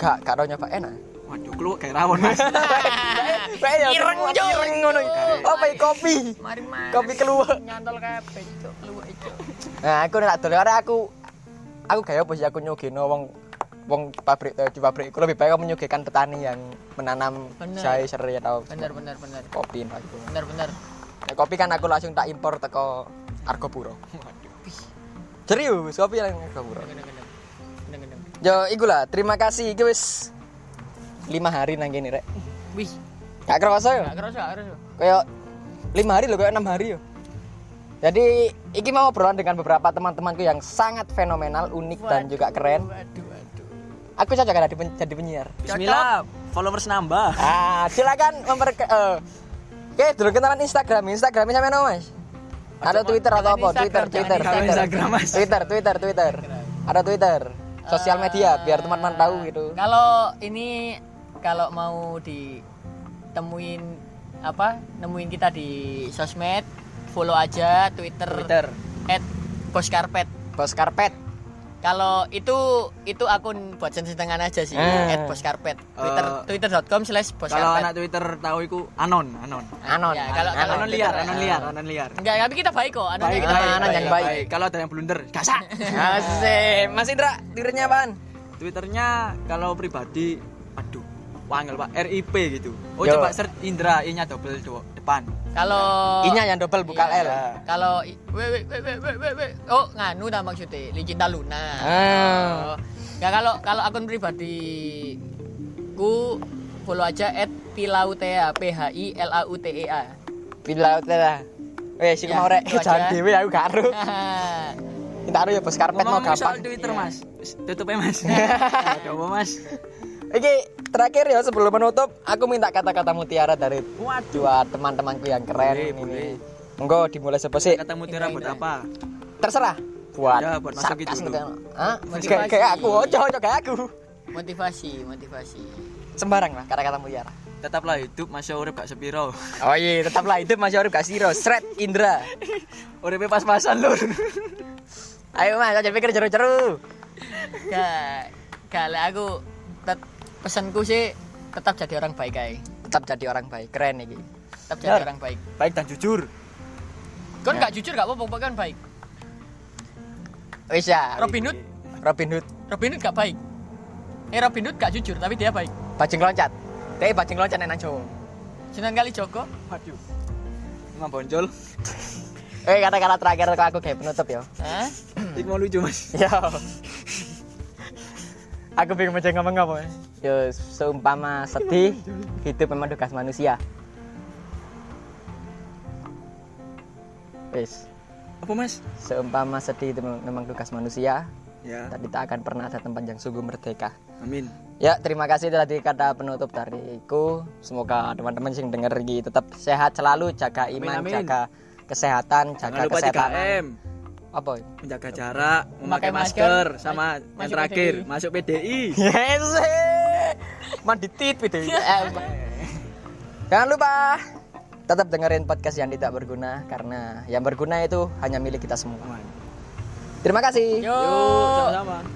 [SPEAKER 3] gak gak tau nyoba enak.
[SPEAKER 4] waduh kluwek kayak rawon mas
[SPEAKER 3] Kayak ya
[SPEAKER 2] Ireng,
[SPEAKER 3] keluar,
[SPEAKER 2] Jo.
[SPEAKER 3] ireng ngono. Apa iki, kopi?
[SPEAKER 2] Mari mari.
[SPEAKER 3] Kopi keluar.
[SPEAKER 2] Nyantol kabeh cuk, luwek cuk.
[SPEAKER 3] Nah, aku nek tak dol arek aku aku gak apa sih aku nyugino wong wong pabrik eh, di pabrik itu lebih baik kamu menyuguhkan petani yang menanam
[SPEAKER 2] Bener.
[SPEAKER 3] jahe serai atau
[SPEAKER 2] bener bener bener
[SPEAKER 3] kopi nah, gitu.
[SPEAKER 2] bener bener
[SPEAKER 3] Nah, kopi kan aku langsung tak impor teko Argopuro. Serius, kopi yang Argopuro.
[SPEAKER 2] Gendeng, gendeng. Gendeng, gendeng.
[SPEAKER 3] Yo, ikulah. Terima kasih iki wis 5 hari nang kene rek.
[SPEAKER 2] wih
[SPEAKER 3] Gak kerasa yo.
[SPEAKER 2] gak kerasa gak kerasa
[SPEAKER 3] Kayak 5 hari loh, kayak 6 hari yo. Jadi, iki mau obrolan dengan beberapa teman-temanku yang sangat fenomenal, unik dan juga keren.
[SPEAKER 2] waduh waduh
[SPEAKER 3] Aku cocok ada di pen- jadi penyiar.
[SPEAKER 4] Bismillah, followers nambah.
[SPEAKER 3] Ah, silakan memper eh, Oke, dulu kenalan Instagram. Instagramnya sampe nama, Mas? Ada Twitter atau apa?
[SPEAKER 2] Instagram,
[SPEAKER 3] Twitter,
[SPEAKER 2] jangan
[SPEAKER 3] Twitter,
[SPEAKER 2] Instagram.
[SPEAKER 3] Twitter.
[SPEAKER 4] Instagram, Mas.
[SPEAKER 3] Twitter, Twitter, Twitter. Ada Twitter. Sosial media biar teman-teman tahu gitu.
[SPEAKER 2] Kalau ini kalau mau ditemuin apa? Nemuin kita di sosmed, follow aja Twitter,
[SPEAKER 3] Twitter.
[SPEAKER 2] @boskarpet.
[SPEAKER 3] Bos karpet.
[SPEAKER 2] Kalau itu itu akun buat senang aja sih,
[SPEAKER 3] Eh.
[SPEAKER 2] @boskarpet. Twitter
[SPEAKER 4] Eh.
[SPEAKER 2] twitter.com slash
[SPEAKER 4] Kalau
[SPEAKER 2] boskarpet.
[SPEAKER 4] anak Twitter tahu iku anon, anon.
[SPEAKER 3] Anon.
[SPEAKER 2] Ya, kalau- kalau
[SPEAKER 4] Anon liar, anon liar, anon liar.
[SPEAKER 2] Enggak, tapi kita baik kok. Anunya
[SPEAKER 3] Baik,
[SPEAKER 2] kita
[SPEAKER 3] baik,
[SPEAKER 2] anak yang baik.
[SPEAKER 4] Kalau ada yang blunder, gasak.
[SPEAKER 3] Asik. Mas Indra, Twitternya apaan?
[SPEAKER 4] Twitternya kalau pribadi, aduh, wangel pak, RIP gitu. Oh
[SPEAKER 3] Yo.
[SPEAKER 4] coba search Indra, I-nya double do- depan.
[SPEAKER 2] Kalau
[SPEAKER 3] Oh. I-nya yang double bukan
[SPEAKER 2] Iya.
[SPEAKER 3] L.
[SPEAKER 2] Kalau i- we we we we we we- we oh nganu dah maksudnya Licinta Luna.
[SPEAKER 3] Ah.
[SPEAKER 2] Oh. Ya kalau kalau akun pribadi ku follow aja @pilautea p h i l a u t e a.
[SPEAKER 3] Bila lah. Weh, sing
[SPEAKER 2] Ya,
[SPEAKER 3] mau rek
[SPEAKER 2] itu aja.
[SPEAKER 3] jangan dewe aku gak aru. Kita aru ya bos karpet mau
[SPEAKER 4] Ngomong-ngomong soal
[SPEAKER 3] gampang.
[SPEAKER 4] Twitter mas, tutupnya mas. Ada apa mas?
[SPEAKER 3] Oke, terakhir ya sebelum menutup, aku minta kata-kata mutiara dari
[SPEAKER 4] Waduh,
[SPEAKER 3] dua teman-temanku yang keren
[SPEAKER 4] Boleh,
[SPEAKER 3] ini.
[SPEAKER 4] boleh.
[SPEAKER 3] Monggo dimulai siapa sih?
[SPEAKER 4] kata mutiara buat apa?
[SPEAKER 3] Terserah. Buat,
[SPEAKER 4] Ya, buat Mas Yogi
[SPEAKER 3] sarkas
[SPEAKER 4] dulu.
[SPEAKER 3] gitu. Hah?
[SPEAKER 2] Motivasi.
[SPEAKER 3] Kayak kayak aku, oh, cocok kayak aku.
[SPEAKER 2] Motivasi, motivasi.
[SPEAKER 3] Sembarang lah kata-kata mutiara.
[SPEAKER 4] Tetaplah hidup, masya urip gak sepiro.
[SPEAKER 3] Oh iya, tetaplah hidup Mas Yorif Kasiro, Sret Indra.
[SPEAKER 4] Uripnya pas-pasan lur.
[SPEAKER 3] Ayo Mas, aja pikir jeru-jeru.
[SPEAKER 2] Gak kalau aku tet- pesanku sih tetap jadi orang baik aja.
[SPEAKER 3] Tetap jadi orang baik, keren iki.
[SPEAKER 2] Tetap jadi
[SPEAKER 4] Benar.
[SPEAKER 2] orang baik.
[SPEAKER 4] Baik dan jujur.
[SPEAKER 2] Kan
[SPEAKER 3] Ya.
[SPEAKER 2] gak jujur gak apa-apa kan baik.
[SPEAKER 3] Wis ya.
[SPEAKER 2] Robin Hood,
[SPEAKER 3] Robin Hood,
[SPEAKER 2] Robin Hood gak baik. Eh Robin Hood gak jujur tapi dia baik.
[SPEAKER 3] bajing loncat. Tapi bajing loncat enak Jawa.
[SPEAKER 2] Sunan Kalijogo
[SPEAKER 4] Waduh. Emang bonjol.
[SPEAKER 3] Eh kata-kata terakhir kok aku kayak penutup ya.
[SPEAKER 2] Hah?
[SPEAKER 4] Ini mau lucu mas.
[SPEAKER 3] Ya. aku bingung mau ngomong apa ya. Yo, seumpama sedih, hidup memang tugas manusia. Wis,
[SPEAKER 4] Apa mas?
[SPEAKER 3] seumpama sedih itu memang tugas manusia,
[SPEAKER 4] Ya.
[SPEAKER 3] tapi tak akan pernah ada tempat yang sungguh merdeka.
[SPEAKER 4] Amin.
[SPEAKER 3] Ya, terima kasih itu tadi kata penutup dariku. Semoga teman-teman yang denger ini tetap sehat selalu, jaga iman,
[SPEAKER 4] amin.
[SPEAKER 3] jaga kesehatan,
[SPEAKER 4] Jangan
[SPEAKER 3] jaga
[SPEAKER 4] lupa
[SPEAKER 3] kesehatan.
[SPEAKER 4] 3M.
[SPEAKER 3] Apa? ini?
[SPEAKER 4] Menjaga jarak,
[SPEAKER 2] Memakai
[SPEAKER 4] memakai
[SPEAKER 2] masker,
[SPEAKER 4] masker, sama
[SPEAKER 2] masuk
[SPEAKER 4] yang terakhir,
[SPEAKER 2] PDI.
[SPEAKER 4] masuk PDI.
[SPEAKER 3] Yes. eh. Mandi tit gitu. Eh, Jangan lupa tetap dengerin podcast yang tidak berguna karena yang berguna itu hanya milik kita semua. Terima kasih.
[SPEAKER 2] Yo.
[SPEAKER 4] Yuk, sama-sama.